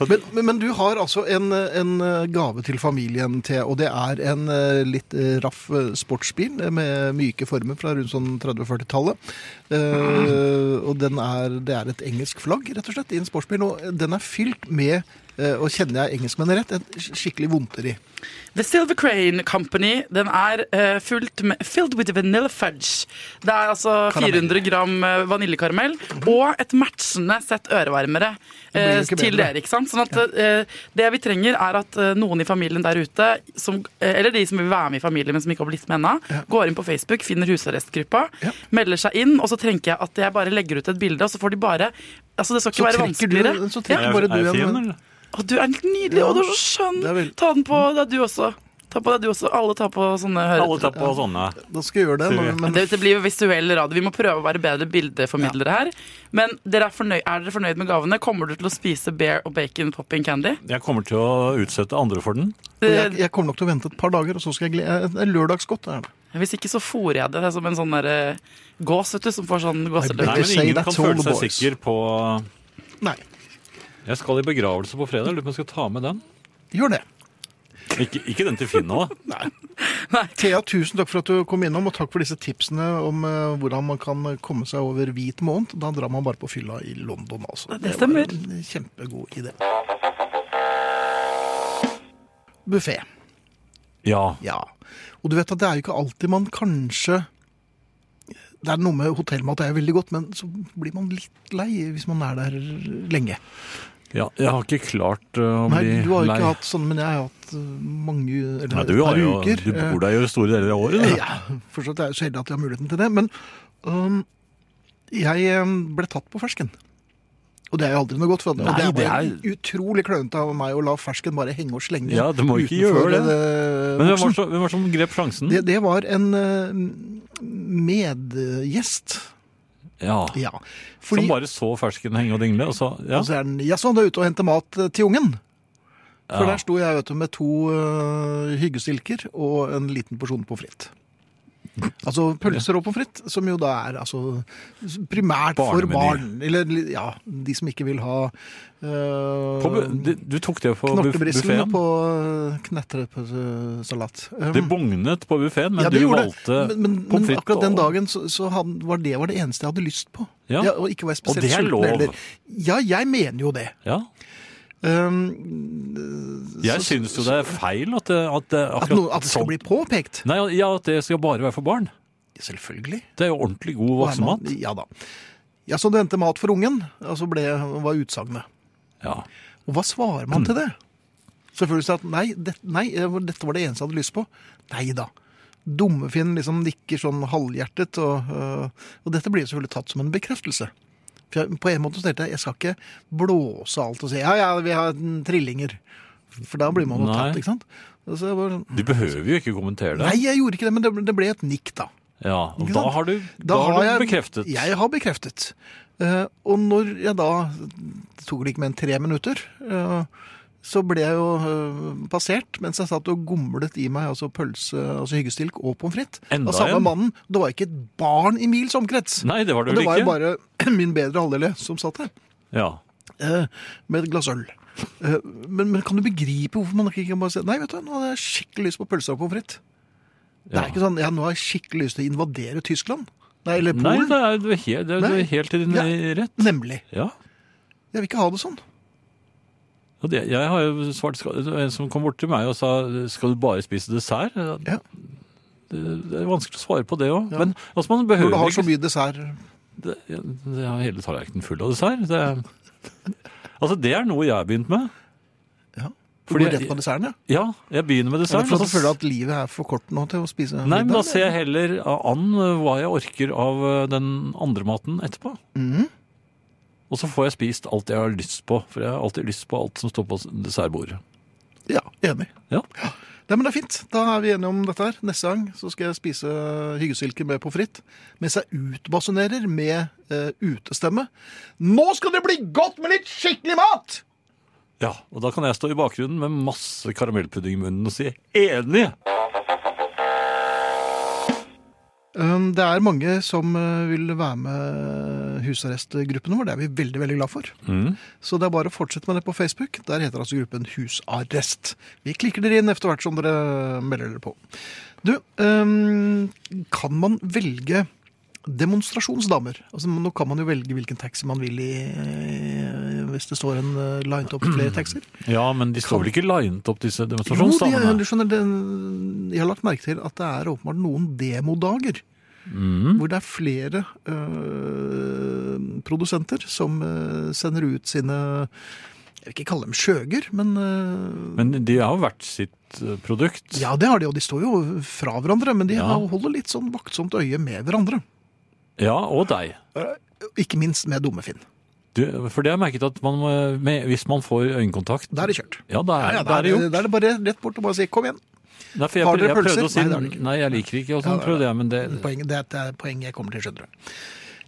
[SPEAKER 2] Men, men, men du har altså en, en gave til familien, Thea, og det er en eh, litt eh, raff eh, sportsbil eh, med myke former fra rundt sånn 30-40-tallet. Eh, og den er, det er et engelsk flagg, rett og slett, i en sportsbil. Og den er fylt med, eh, og kjenner jeg engelskmennene rett, en sk- skikkelig vondteri.
[SPEAKER 4] The Silver Crane Company den er eh, fullt med, filled with vanilla fudge. Det er altså
[SPEAKER 2] Karamell.
[SPEAKER 4] 400 gram eh, vaniljekaramell og et matchende sett ørevarmere eh,
[SPEAKER 2] Det blir jo ikke
[SPEAKER 4] til
[SPEAKER 2] bedre.
[SPEAKER 4] dere. ikke sant? Sånn at eh, Det vi trenger, er at eh, noen i familien der ute, som, eh, eller de som vil være med i familien, men som ikke har blitt med ennå, går inn på Facebook, finner husarrestgruppa,
[SPEAKER 2] Ja.
[SPEAKER 4] melder seg inn, og så tenker jeg at jeg bare legger ut et bilde, og så får de bare Altså, Det skal ikke
[SPEAKER 2] Så
[SPEAKER 4] være
[SPEAKER 2] trekker du,
[SPEAKER 4] vanskeligere.
[SPEAKER 2] så
[SPEAKER 4] Ja.
[SPEAKER 2] trekker bare
[SPEAKER 3] er jeg
[SPEAKER 2] du
[SPEAKER 3] fin,
[SPEAKER 2] en
[SPEAKER 3] eller?
[SPEAKER 4] Å, du er helt nydelig,
[SPEAKER 2] Ja.
[SPEAKER 4] og du er så skjønn.
[SPEAKER 2] Det er vel-
[SPEAKER 4] Ta den på deg, du også. Ta på deg, du også. Alle tar på sånne
[SPEAKER 3] Alle
[SPEAKER 4] hører...
[SPEAKER 3] tar på sånne.
[SPEAKER 2] Da skal jeg gjøre det.
[SPEAKER 3] Sier vi.
[SPEAKER 2] Men, men
[SPEAKER 4] Det, det blir jo visuell radio. Vi må prøve å være bedre bildeformidlere her. Men dere er, fornøy er dere fornøyd med gavene? Kommer du til å spise bear og bacon popping candy?
[SPEAKER 3] Jeg kommer til å utsette andre for den.
[SPEAKER 2] og jeg, jeg kommer nok til å vente et par dager, og så skal jeg glede En lørdagsgodt er det.
[SPEAKER 4] Eh, Hvis ikke så fôrer jeg det. Det er som en sånn der, eh, gås, vet du, som får sånn
[SPEAKER 2] Nei,
[SPEAKER 3] Nei,
[SPEAKER 4] gåseløk.
[SPEAKER 2] Just
[SPEAKER 3] men
[SPEAKER 2] say
[SPEAKER 3] ingen
[SPEAKER 2] that's
[SPEAKER 3] kan
[SPEAKER 2] all
[SPEAKER 3] føle
[SPEAKER 2] the
[SPEAKER 3] seg
[SPEAKER 2] boys.
[SPEAKER 3] sikker på
[SPEAKER 2] Nei.
[SPEAKER 3] Jeg skal i begravelse på fredag. Lurer på om jeg skal ta med den.
[SPEAKER 2] Gjør det.
[SPEAKER 3] Ikke, ikke den til Finn nå, da.
[SPEAKER 2] Thea, tusen takk for at du kom innom, og takk for disse tipsene om eh, hvordan man kan komme seg over hvit måned. Da drar man bare på fylla i London, altså.
[SPEAKER 4] Det stemmer.
[SPEAKER 2] Det var en kjempegod idé. Buffé.
[SPEAKER 3] Ja.
[SPEAKER 2] Ja. Og du vet at det er jo ikke alltid man kanskje Det er noe med hotellmat det er jo veldig godt, men så blir man litt lei hvis man er der lenge.
[SPEAKER 3] ja. Jeg har ikke klart uh, å
[SPEAKER 2] Nei,
[SPEAKER 3] bli
[SPEAKER 2] du har jo
[SPEAKER 3] lei.
[SPEAKER 2] ikke hatt sånn, men jeg har hatt eh, mange eller,
[SPEAKER 3] Nei, du,
[SPEAKER 2] et
[SPEAKER 3] har
[SPEAKER 2] par
[SPEAKER 3] jo,
[SPEAKER 2] uker,
[SPEAKER 3] du
[SPEAKER 2] eh,
[SPEAKER 3] bor der jo store deler av året. Du.
[SPEAKER 2] Ja, forstått. Jeg er jo så heldig at jeg har muligheten til det. Men øhm, jeg øhm, ble tatt på fersken. Og det er jo aldri noe godt. For og
[SPEAKER 3] Nei,
[SPEAKER 2] det var
[SPEAKER 3] det
[SPEAKER 2] utrolig klønete av meg å la fersken bare henge og slenge
[SPEAKER 3] Ja, du må ikke
[SPEAKER 2] utenfor,
[SPEAKER 3] gjøre det.
[SPEAKER 2] øh,
[SPEAKER 3] Men hvem
[SPEAKER 2] boksen.
[SPEAKER 3] var, så, hvem var som grep sjansen?
[SPEAKER 2] det, det var en øh, medgjest.
[SPEAKER 3] Ja.
[SPEAKER 2] Ja.
[SPEAKER 3] Som
[SPEAKER 2] Fordi, Altså,
[SPEAKER 3] bare så fersken henge og dingle, og så ja.
[SPEAKER 2] Og så er den Jaså, han er ute og henter mat øh, til ungen. For
[SPEAKER 3] Ja.
[SPEAKER 2] der sto jeg vet du, med to øh, hyggestilker og en liten porsjon pommes frites. Altså pølser og pommes frites, som jo da er altså, primært for
[SPEAKER 3] Barnemeny.
[SPEAKER 2] barn. Eller ja, de som ikke vil ha øh,
[SPEAKER 3] På bu- du, du tok det på
[SPEAKER 2] Knortebrislen
[SPEAKER 3] buffeen.
[SPEAKER 2] på eh, knetresalat. Um,
[SPEAKER 3] Det bugnet på buffeen, men
[SPEAKER 2] Mm. Ja, det
[SPEAKER 3] du
[SPEAKER 2] gjorde det.
[SPEAKER 3] valgte
[SPEAKER 2] men, men,
[SPEAKER 3] pommes
[SPEAKER 2] men
[SPEAKER 3] frites.
[SPEAKER 2] akkurat den
[SPEAKER 3] og-
[SPEAKER 2] dagen så, så han, var det var det eneste jeg hadde lyst på.
[SPEAKER 3] Ja.
[SPEAKER 2] og ikke var jeg
[SPEAKER 3] Og
[SPEAKER 2] spesielt
[SPEAKER 3] det er
[SPEAKER 2] sulten
[SPEAKER 3] lov.
[SPEAKER 2] heller. Ja, jeg mener jo det. Um,
[SPEAKER 3] Ja.
[SPEAKER 2] Ehm,
[SPEAKER 3] Jeg
[SPEAKER 2] så-
[SPEAKER 3] syns jo det er feil at det, at det
[SPEAKER 2] At,
[SPEAKER 3] akkurat
[SPEAKER 2] noe, at det skal
[SPEAKER 3] sånn-
[SPEAKER 2] bli påpekt.
[SPEAKER 3] Nei, ja, at det skal bare være for barn.
[SPEAKER 2] Selvfølgelig.
[SPEAKER 3] Det er jo ordentlig god
[SPEAKER 2] Og er man-
[SPEAKER 3] voksenmat.
[SPEAKER 2] Ja da. Ja, så du endte mat for ungen, og så ble, var utsagnet.
[SPEAKER 3] Ja.
[SPEAKER 2] Og hva svarer man til det? Selvfølgelig sa at nei, det, nei, eh, dette var det eneste jeg hadde lyst på. Nei da. Dummefinn liksom nikker sånn halvhjertet, og, øh, og dette blir jo selvfølgelig tatt som en bekreftelse. For jeg, på en måte så tenkte jeg jeg skal ikke blåse alt og si ja, ja, vi har mm, trillinger. For da blir man jo
[SPEAKER 3] Nei.
[SPEAKER 2] tatt, ikke sant? Og så jeg bare, sånn,
[SPEAKER 3] Du behøver jo ikke kommentere det.
[SPEAKER 2] nei, jeg gjorde ikke det, men det, ble- det ble et nikk, da.
[SPEAKER 3] Ja, og
[SPEAKER 2] Ikke
[SPEAKER 3] da
[SPEAKER 2] sant?
[SPEAKER 3] har du, da har du bekreftet.
[SPEAKER 2] Jeg har bekreftet. Eh, og når jeg da Det tok det ikke mer enn tre minutter. eh, så ble jeg jo eh, passert mens jeg satt og gomlet i meg altså pølse, altså hyggestilk og pommes frites.
[SPEAKER 3] Enda
[SPEAKER 2] Av samme
[SPEAKER 3] en?
[SPEAKER 2] mannen. Det var ikke et barn i mils omkrets.
[SPEAKER 3] Nei, det var det
[SPEAKER 2] Og det
[SPEAKER 3] vel
[SPEAKER 2] var
[SPEAKER 3] ikke.
[SPEAKER 2] jo bare min bedre halvdel som satt der
[SPEAKER 3] Ja.
[SPEAKER 2] eh, med et glass øl. Eh, Men, men kan du begripe hvorfor man ikke kan bare si Nei, vet du, nå hadde jeg skikkelig lyst på pølse og pommes frites. Det
[SPEAKER 3] Ja.
[SPEAKER 2] er ikke sånn ja, nå har jeg skikkelig lyst til å invadere Tyskland. Nei, eller
[SPEAKER 3] Nei,
[SPEAKER 2] Polen.
[SPEAKER 3] det er, du er helt, det er, du
[SPEAKER 2] Nei.
[SPEAKER 3] er helt i din
[SPEAKER 2] Ja.
[SPEAKER 3] rett.
[SPEAKER 2] Nemlig.
[SPEAKER 3] Ja.
[SPEAKER 2] Jeg vil ikke ha det sånn.
[SPEAKER 3] Og det, jeg har jo svart skal, det var En som kom bort til meg og sa skal du bare spise dessert? Det,
[SPEAKER 2] Ja.
[SPEAKER 3] det er vanskelig å svare på det òg.
[SPEAKER 2] Ja.
[SPEAKER 3] Men altså, man
[SPEAKER 2] Når
[SPEAKER 3] behøver
[SPEAKER 2] du har så
[SPEAKER 3] ikke
[SPEAKER 2] mye dessert
[SPEAKER 3] det, jeg har hele tallerkenen full av dessert. Det, altså, det er noe jeg har begynt med.
[SPEAKER 2] Ja. Du
[SPEAKER 3] Fordi-
[SPEAKER 2] går rett på desserten, ja?
[SPEAKER 3] Ja, jeg begynner med
[SPEAKER 2] Er
[SPEAKER 3] dessert.
[SPEAKER 2] det for
[SPEAKER 3] og
[SPEAKER 2] at du
[SPEAKER 3] så-
[SPEAKER 2] føler at livet er for kort nå til å spise
[SPEAKER 3] Nei, men da
[SPEAKER 2] middag,
[SPEAKER 3] ser jeg heller an eh, hva jeg orker av eh, den andre maten etterpå.
[SPEAKER 2] Mhm.
[SPEAKER 3] Og så får jeg spist alt jeg har lyst på, for jeg har alltid lyst på alt som står på dessertbordet.
[SPEAKER 2] Ja, enig.
[SPEAKER 3] Ja.
[SPEAKER 2] Nei, men det er fint. Da er vi enige om dette her. Neste gang så skal jeg spise hyggesilke med pommes frites mens jeg utbasunerer med eh, utestemme. Nå skal det bli godt med litt skikkelig mat!
[SPEAKER 3] ja, og da kan jeg stå i bakgrunnen med masse karamellpudding i munnen og si enig!
[SPEAKER 2] Um, Det er mange som eh, vil være med husarrestgruppen vår. Det er vi veldig veldig glad for. Så det er bare å fortsette med det på Facebook. Der heter altså gruppen Husarrest. Vi klikker dere inn etter hvert som dere melder dere på. Du, um, kan man velge demonstrasjonsdamer? Altså, nå kan man jo velge hvilken taxi man vil i eh, hvis det står en eh, lined opp flere taxier.
[SPEAKER 3] Ja, men de står vel ikke linet opp, disse
[SPEAKER 2] Jo, de,
[SPEAKER 3] demonstrasjonsdamene?
[SPEAKER 2] du skjønner, den- jeg har lagt merke til at det er åpenbart noen demodager.
[SPEAKER 3] Mhm.
[SPEAKER 2] Hvor det er flere øh, produsenter som øh, sender ut sine Jeg vil ikke kalle dem skjøger, men øh,
[SPEAKER 3] Men de har jo hvert sitt eh, produkt.
[SPEAKER 2] Ja, det har de, og de står jo fra hverandre. Men de
[SPEAKER 3] Ja.
[SPEAKER 2] har- holder litt sånn vaktsomt øye med hverandre.
[SPEAKER 3] Ja, og deg.
[SPEAKER 2] Ikke minst med Dummefinn.
[SPEAKER 3] Du, for det har jeg merket at man, må- med, hvis man får øyekontakt
[SPEAKER 2] Da er det kjørt.
[SPEAKER 3] Ja, da er,
[SPEAKER 2] Ja, ja,
[SPEAKER 3] da er det jo.
[SPEAKER 2] da er det bare rett bort og bare si 'kom igjen'.
[SPEAKER 3] Nei, for jeg,
[SPEAKER 2] Har dere
[SPEAKER 3] jeg prøvde
[SPEAKER 2] pølser?
[SPEAKER 3] å si
[SPEAKER 2] Nei,
[SPEAKER 3] nei,
[SPEAKER 2] det har dere ikke.
[SPEAKER 3] jeg liker ikke, og
[SPEAKER 2] Ja,
[SPEAKER 3] sånn
[SPEAKER 2] det er
[SPEAKER 3] prøvde jeg, men det
[SPEAKER 2] Poenget, det er et poeng jeg kommer til, skjønner du.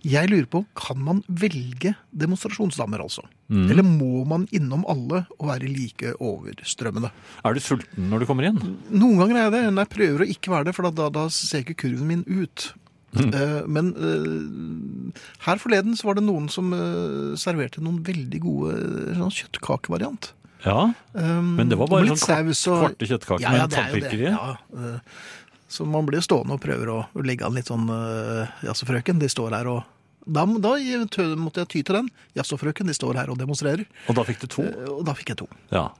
[SPEAKER 2] Jeg lurer på, kan man velge demonstrasjonsdamer, altså? Eller må man innom alle og være like overstrømmende?
[SPEAKER 3] Er du sulten når du kommer inn?
[SPEAKER 2] Noen ganger er jeg det, men jeg prøver å ikke være det, for da, da, da ser ikke kurven min ut. Eh, men eh, her forleden så var det noen som eh, serverte noen veldig gode eh, sånn kjøttkakevariant.
[SPEAKER 3] Ja.
[SPEAKER 2] Um,
[SPEAKER 3] Men det var bare
[SPEAKER 2] med litt
[SPEAKER 3] sånn kvart-
[SPEAKER 2] saus og-
[SPEAKER 3] kvarte kjøttkaker
[SPEAKER 2] ja,
[SPEAKER 3] med
[SPEAKER 2] ja, det er jo
[SPEAKER 3] tannpirker
[SPEAKER 2] det,
[SPEAKER 3] i.
[SPEAKER 2] Ja. eh, Så man blir jo stående og prøver å å legge an litt sånn eh, Jaså, frøken, de står her og Da, da tø- måtte jeg ty til den. Jaså, frøken, de står her og demonstrerer.
[SPEAKER 3] Og da fikk du to?
[SPEAKER 2] Eh, Og da fikk jeg to.
[SPEAKER 3] Ja.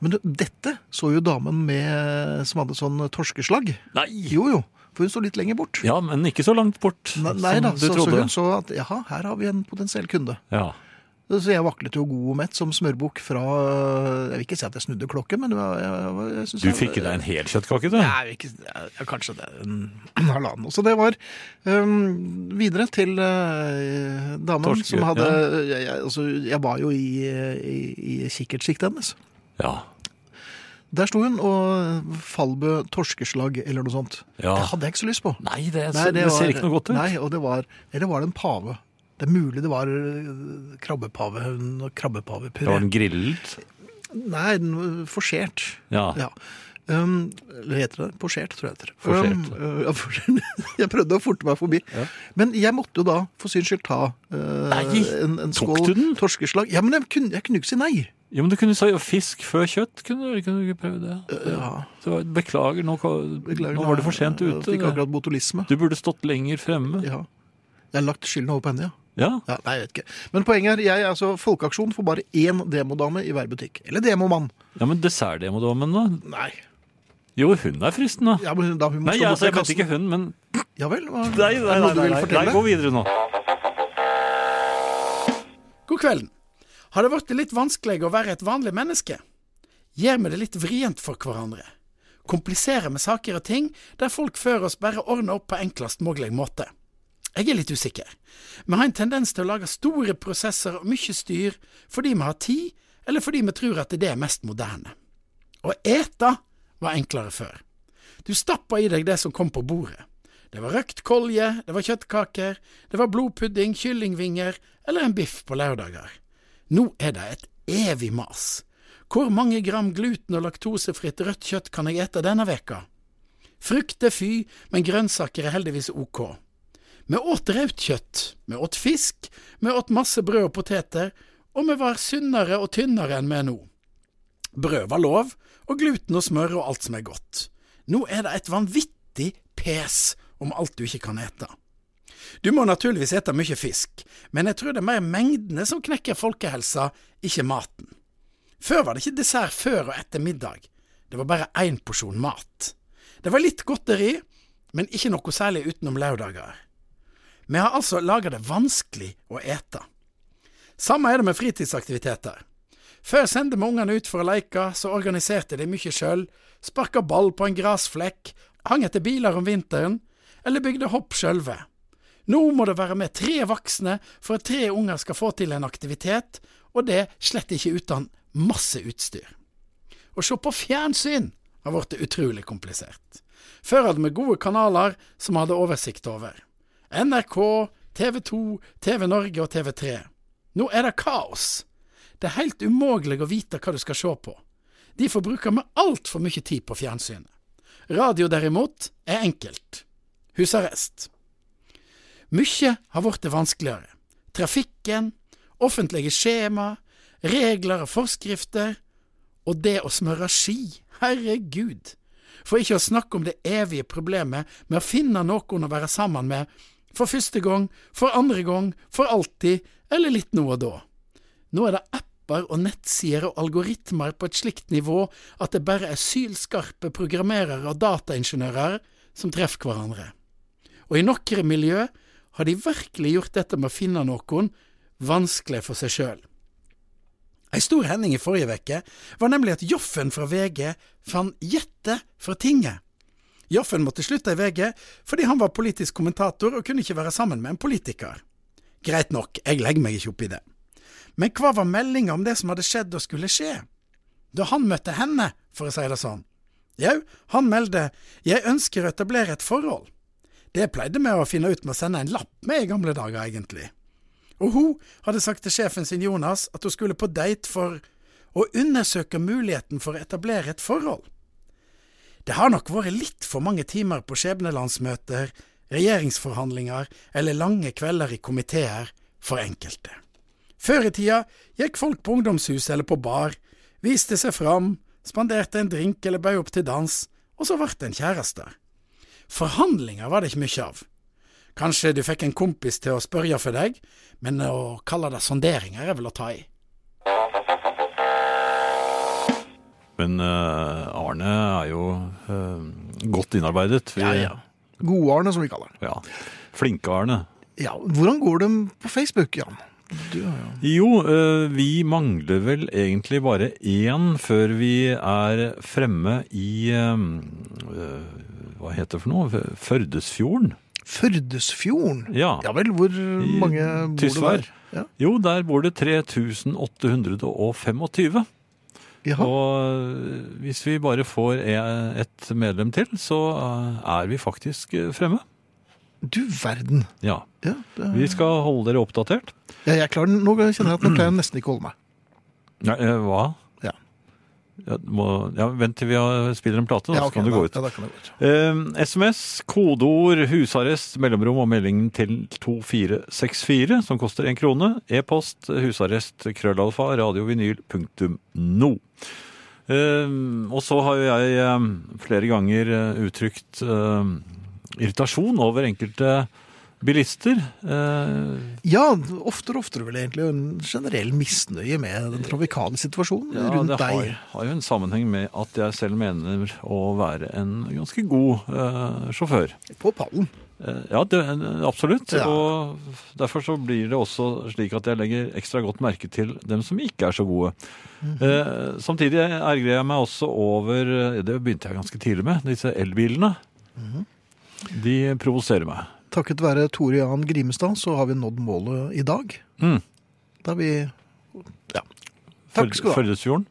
[SPEAKER 2] Men du, dette så jo damen med, som hadde sånn torskeslag.
[SPEAKER 3] Nei!
[SPEAKER 2] Jo, jo. For hun sto litt lenger bort.
[SPEAKER 3] Ja, men ikke så langt bort
[SPEAKER 2] Ne- Nei
[SPEAKER 3] som
[SPEAKER 2] da,
[SPEAKER 3] du
[SPEAKER 2] så, så
[SPEAKER 3] trodde.
[SPEAKER 2] hun så at jaha, her har vi en potensiell kunde.
[SPEAKER 3] Ja.
[SPEAKER 2] Så jeg vaklet jo god og mett som smørbukk fra eh, Jeg vil ikke si at jeg snudde klokken, men det var- jeg, jeg, jeg synes
[SPEAKER 3] Du
[SPEAKER 2] jeg-
[SPEAKER 3] fikk i deg en hel kjøttkake, du?
[SPEAKER 2] Nei, ikke, ja, kanskje det er en halvannen. Så det var øhm, videre til øh, damen
[SPEAKER 3] Torske,
[SPEAKER 2] som hadde jeg, jeg, altså, jeg var jo i, i, i kikkertsiktet hennes.
[SPEAKER 3] Ja.
[SPEAKER 2] Der sto hun og Falbø torskeslag eller noe sånt.
[SPEAKER 3] Ja.
[SPEAKER 2] Det hadde jeg ikke så lyst på.
[SPEAKER 3] Nei, det,
[SPEAKER 2] Nei,
[SPEAKER 3] det, ser ikke noe godt ut.
[SPEAKER 2] Nei, og det var, eller var det en pave? Det er mulig det var øh, krabbepave, hun- og
[SPEAKER 3] Det var
[SPEAKER 2] krabbepavepuré.
[SPEAKER 3] den grillet.
[SPEAKER 2] Nei, den var forsert.
[SPEAKER 3] Ja.
[SPEAKER 2] Ja. Um, eller heter det posjert, tror jeg det heter.
[SPEAKER 3] Forsert.
[SPEAKER 2] Um, uh, ja, forsert. jeg prøvde å forte meg forbi. Men jeg måtte jo da for syns skyld ta uh,
[SPEAKER 3] Nei,
[SPEAKER 2] en, en
[SPEAKER 3] tok
[SPEAKER 2] skål
[SPEAKER 3] du den?
[SPEAKER 2] torskeslag. Ja, men jeg kunne, jeg kunne ikke si nei.
[SPEAKER 3] Jo, men du kunne si jo, fisk før kjøtt. Kunne du kunne du ikke prøvd det?
[SPEAKER 2] Ja,
[SPEAKER 3] Så, beklager, nå, ka-
[SPEAKER 2] beklager,
[SPEAKER 3] nå var du for sent
[SPEAKER 2] jeg- jeg
[SPEAKER 3] ute.
[SPEAKER 2] Fikk akkurat botulisme.
[SPEAKER 3] Du burde stått lenger fremme.
[SPEAKER 2] Ja. Jeg har lagt skylden over på henne, ja.
[SPEAKER 3] Ja.
[SPEAKER 2] ja. Nei, jeg vet ikke. Men poenget er, jeg er altså folkeaksjon for bare én demodame i hver butikk. Eller demomann.
[SPEAKER 3] ja, men dessertdemodamen, da?
[SPEAKER 2] Nei.
[SPEAKER 3] Jo, hun er fristende.
[SPEAKER 2] Ja, men da hun må
[SPEAKER 3] Nei,
[SPEAKER 2] stå
[SPEAKER 3] jeg,
[SPEAKER 2] borte
[SPEAKER 3] altså,
[SPEAKER 2] ved
[SPEAKER 3] jeg mente ikke hun, men
[SPEAKER 2] Ja vel? Hva,
[SPEAKER 3] Nei,
[SPEAKER 2] er
[SPEAKER 3] nei,
[SPEAKER 2] det
[SPEAKER 3] nei,
[SPEAKER 2] noe du
[SPEAKER 3] nei,
[SPEAKER 2] vil
[SPEAKER 3] nei,
[SPEAKER 2] fortelle?
[SPEAKER 3] gå videre nå.
[SPEAKER 5] God kvelden. Har det blitt litt vanskelig å være et vanlig menneske? Gjør vi det litt vrient for hverandre? Kompliserer vi saker og ting der folk før oss bare ordner opp på enklest mulig måte? Jeg er litt usikker. Vi har en tendens til å lage store prosesser og mye styr fordi vi har tid, eller fordi vi tror at det er mest moderne. Å ete var enklere før. Du stappa i deg det som kom på bordet. Det var røkt kolje, det var kjøttkaker, det var blodpudding, kyllingvinger eller en biff på lørdager. Nå er det et evig mas. Hvor mange gram gluten- og laktosefritt rødt kjøtt kan jeg ete denne veka? Frukt er fy, men grønnsaker er heldigvis ok. Vi åt rødt kjøtt, vi åt fisk, vi åt masse brød og poteter, og vi var sunnere og tynnere enn vi er nå. Brød var lov, og gluten og smør og alt som er godt. Nå er det et vanvittig pes om alt du ikke kan ete. Du må naturligvis ete mye fisk, men jeg tror det er mer mengdene som knekker folkehelsa, ikke maten. Før var det ikke dessert før og etter middag. Det var bare én porsjon mat. Det var litt godteri, men ikke noe særlig utenom lørdager. Vi har altså laga det vanskelig å ete. Samme er det med fritidsaktiviteter. Før sendte vi ungene ut for å leike, så organiserte de mye sjøl, sparka ball på en grasflekk, hang etter biler om vinteren, eller bygde hopp sjølve. Nå må det være med tre voksne for at tre unger skal få til en aktivitet, og det slett ikke uten masse utstyr. Å se på fjernsyn har blitt utrolig komplisert. Før hadde vi gode kanaler som vi hadde oversikt over. NRK, TV 2, TV Norge og TV 3. Nå er det kaos. Det er helt umulig å vite hva du skal se på. Derfor bruker vi altfor mye tid på fjernsynet. Radio derimot er enkelt. Husarrest. Mykje har blitt vanskeligere. Trafikken, offentlige skjema, regler og forskrifter, og det å smøre ski, herregud. For ikke å snakke om det evige problemet med å finne noen å være sammen med, for første gang, for andre gang, for alltid, eller litt nå og da. Nå er det apper og nettsider og algoritmer på et slikt nivå at det bare er sylskarpe programmerere og dataingeniører som treffer hverandre. Og i noen miljø har de virkelig gjort dette med å finne noen vanskelig for seg sjøl. Ei stor hending i forrige uke var nemlig at Joffen fra VG fant Jette fra Tinget. Joffen måtte slutte i VG fordi han var politisk kommentator og kunne ikke være sammen med en politiker. Greit nok, jeg legger meg ikke opp i det. Men hva var meldinga om det som hadde skjedd og skulle skje? Da han møtte henne, for å si det sånn. Jau, han meldte Jeg ønsker å etablere et forhold. Det pleide vi å finne ut med å sende en lapp med i gamle dager, egentlig. Og hun hadde sagt til sjefen sin Jonas at hun skulle på date for å undersøke muligheten for å etablere et forhold. Det har nok vært litt for mange timer på skjebnelandsmøter, regjeringsforhandlinger eller lange kvelder i komiteer for enkelte. Før i tida gikk folk på ungdomshus eller på bar, viste seg fram, spanderte en drink eller bøy opp til dans, og så ble det en kjæreste. Forhandlinger var det ikke mye av. Kanskje du fikk en kompis til å spørre for deg, men å kalle det sonderinger er vel å ta i.
[SPEAKER 3] Men eh, Arne er jo eh, godt innarbeidet. Vi,
[SPEAKER 5] Ja, ja.
[SPEAKER 2] Godarne, som vi kaller den.
[SPEAKER 3] ja. Flinke Arne.
[SPEAKER 2] Ja, hvordan går det på Facebook, Jan? Du, har jo-
[SPEAKER 3] Jo, eh, vi mangler vel egentlig bare én før vi er fremme i eh, eh, Hva heter det for noe? Førdesfjorden?
[SPEAKER 2] Førdesfjorden.
[SPEAKER 3] Ja.
[SPEAKER 2] Ja vel, hvor mange bor det
[SPEAKER 3] Tysvær.
[SPEAKER 2] der? Ja.
[SPEAKER 3] Jo, der bor det 3825.
[SPEAKER 2] Jaha.
[SPEAKER 3] Og eh, hvis vi bare får e- et medlem til, så eh, er vi faktisk eh, fremme.
[SPEAKER 2] Du verden.
[SPEAKER 3] Ja.
[SPEAKER 2] Ja, det...
[SPEAKER 3] Vi skal holde dere oppdatert.
[SPEAKER 2] ja, jeg klarer den. Nå kjenner jeg at nå klarer jeg nesten ikke å holde meg.
[SPEAKER 3] Nei, eh, hva?
[SPEAKER 2] Ja.
[SPEAKER 3] Ja, må, ja, vent til vi har- spiller en plate, da,
[SPEAKER 2] ja,
[SPEAKER 3] så
[SPEAKER 2] ok,
[SPEAKER 3] kan du
[SPEAKER 2] da,
[SPEAKER 3] gå ut.
[SPEAKER 2] Ja, da kan jeg gå ut.
[SPEAKER 3] Eh, SMS, kodeord, husarrest, mellomrom og meldingen til 2464, som koster én krone. E-post husarrest krøllalfa radiovinyl.no. Eh, og så har jo jeg eh, flere ganger eh, uttrykt eh, irritasjon over enkelte bilister. Eh,
[SPEAKER 2] Ja, oftere og oftere vel egentlig en generell misnøye med den trafikale situasjonen
[SPEAKER 3] ja,
[SPEAKER 2] rundt
[SPEAKER 3] det har,
[SPEAKER 2] deg.
[SPEAKER 3] har jo en sammenheng med at jeg selv mener å være en ganske god eh, sjåfør.
[SPEAKER 2] På pallen.
[SPEAKER 3] Eh, Ja, det, absolutt.
[SPEAKER 2] Ja.
[SPEAKER 3] Og derfor så blir det også slik at jeg legger ekstra godt merke til dem som ikke er så gode.
[SPEAKER 2] Mhm.
[SPEAKER 3] eh, samtidig ergrer jeg meg også over eh, Det begynte jeg ganske tidlig med. Disse elbilene.
[SPEAKER 2] Mhm.
[SPEAKER 3] De provoserer meg.
[SPEAKER 2] Takket være Tore Jan Grimestad så har vi nådd målet i dag.
[SPEAKER 3] Mm.
[SPEAKER 2] Da vi
[SPEAKER 3] Føl-
[SPEAKER 2] Takk skal du ha. Mhm.
[SPEAKER 3] Følgesfjorden.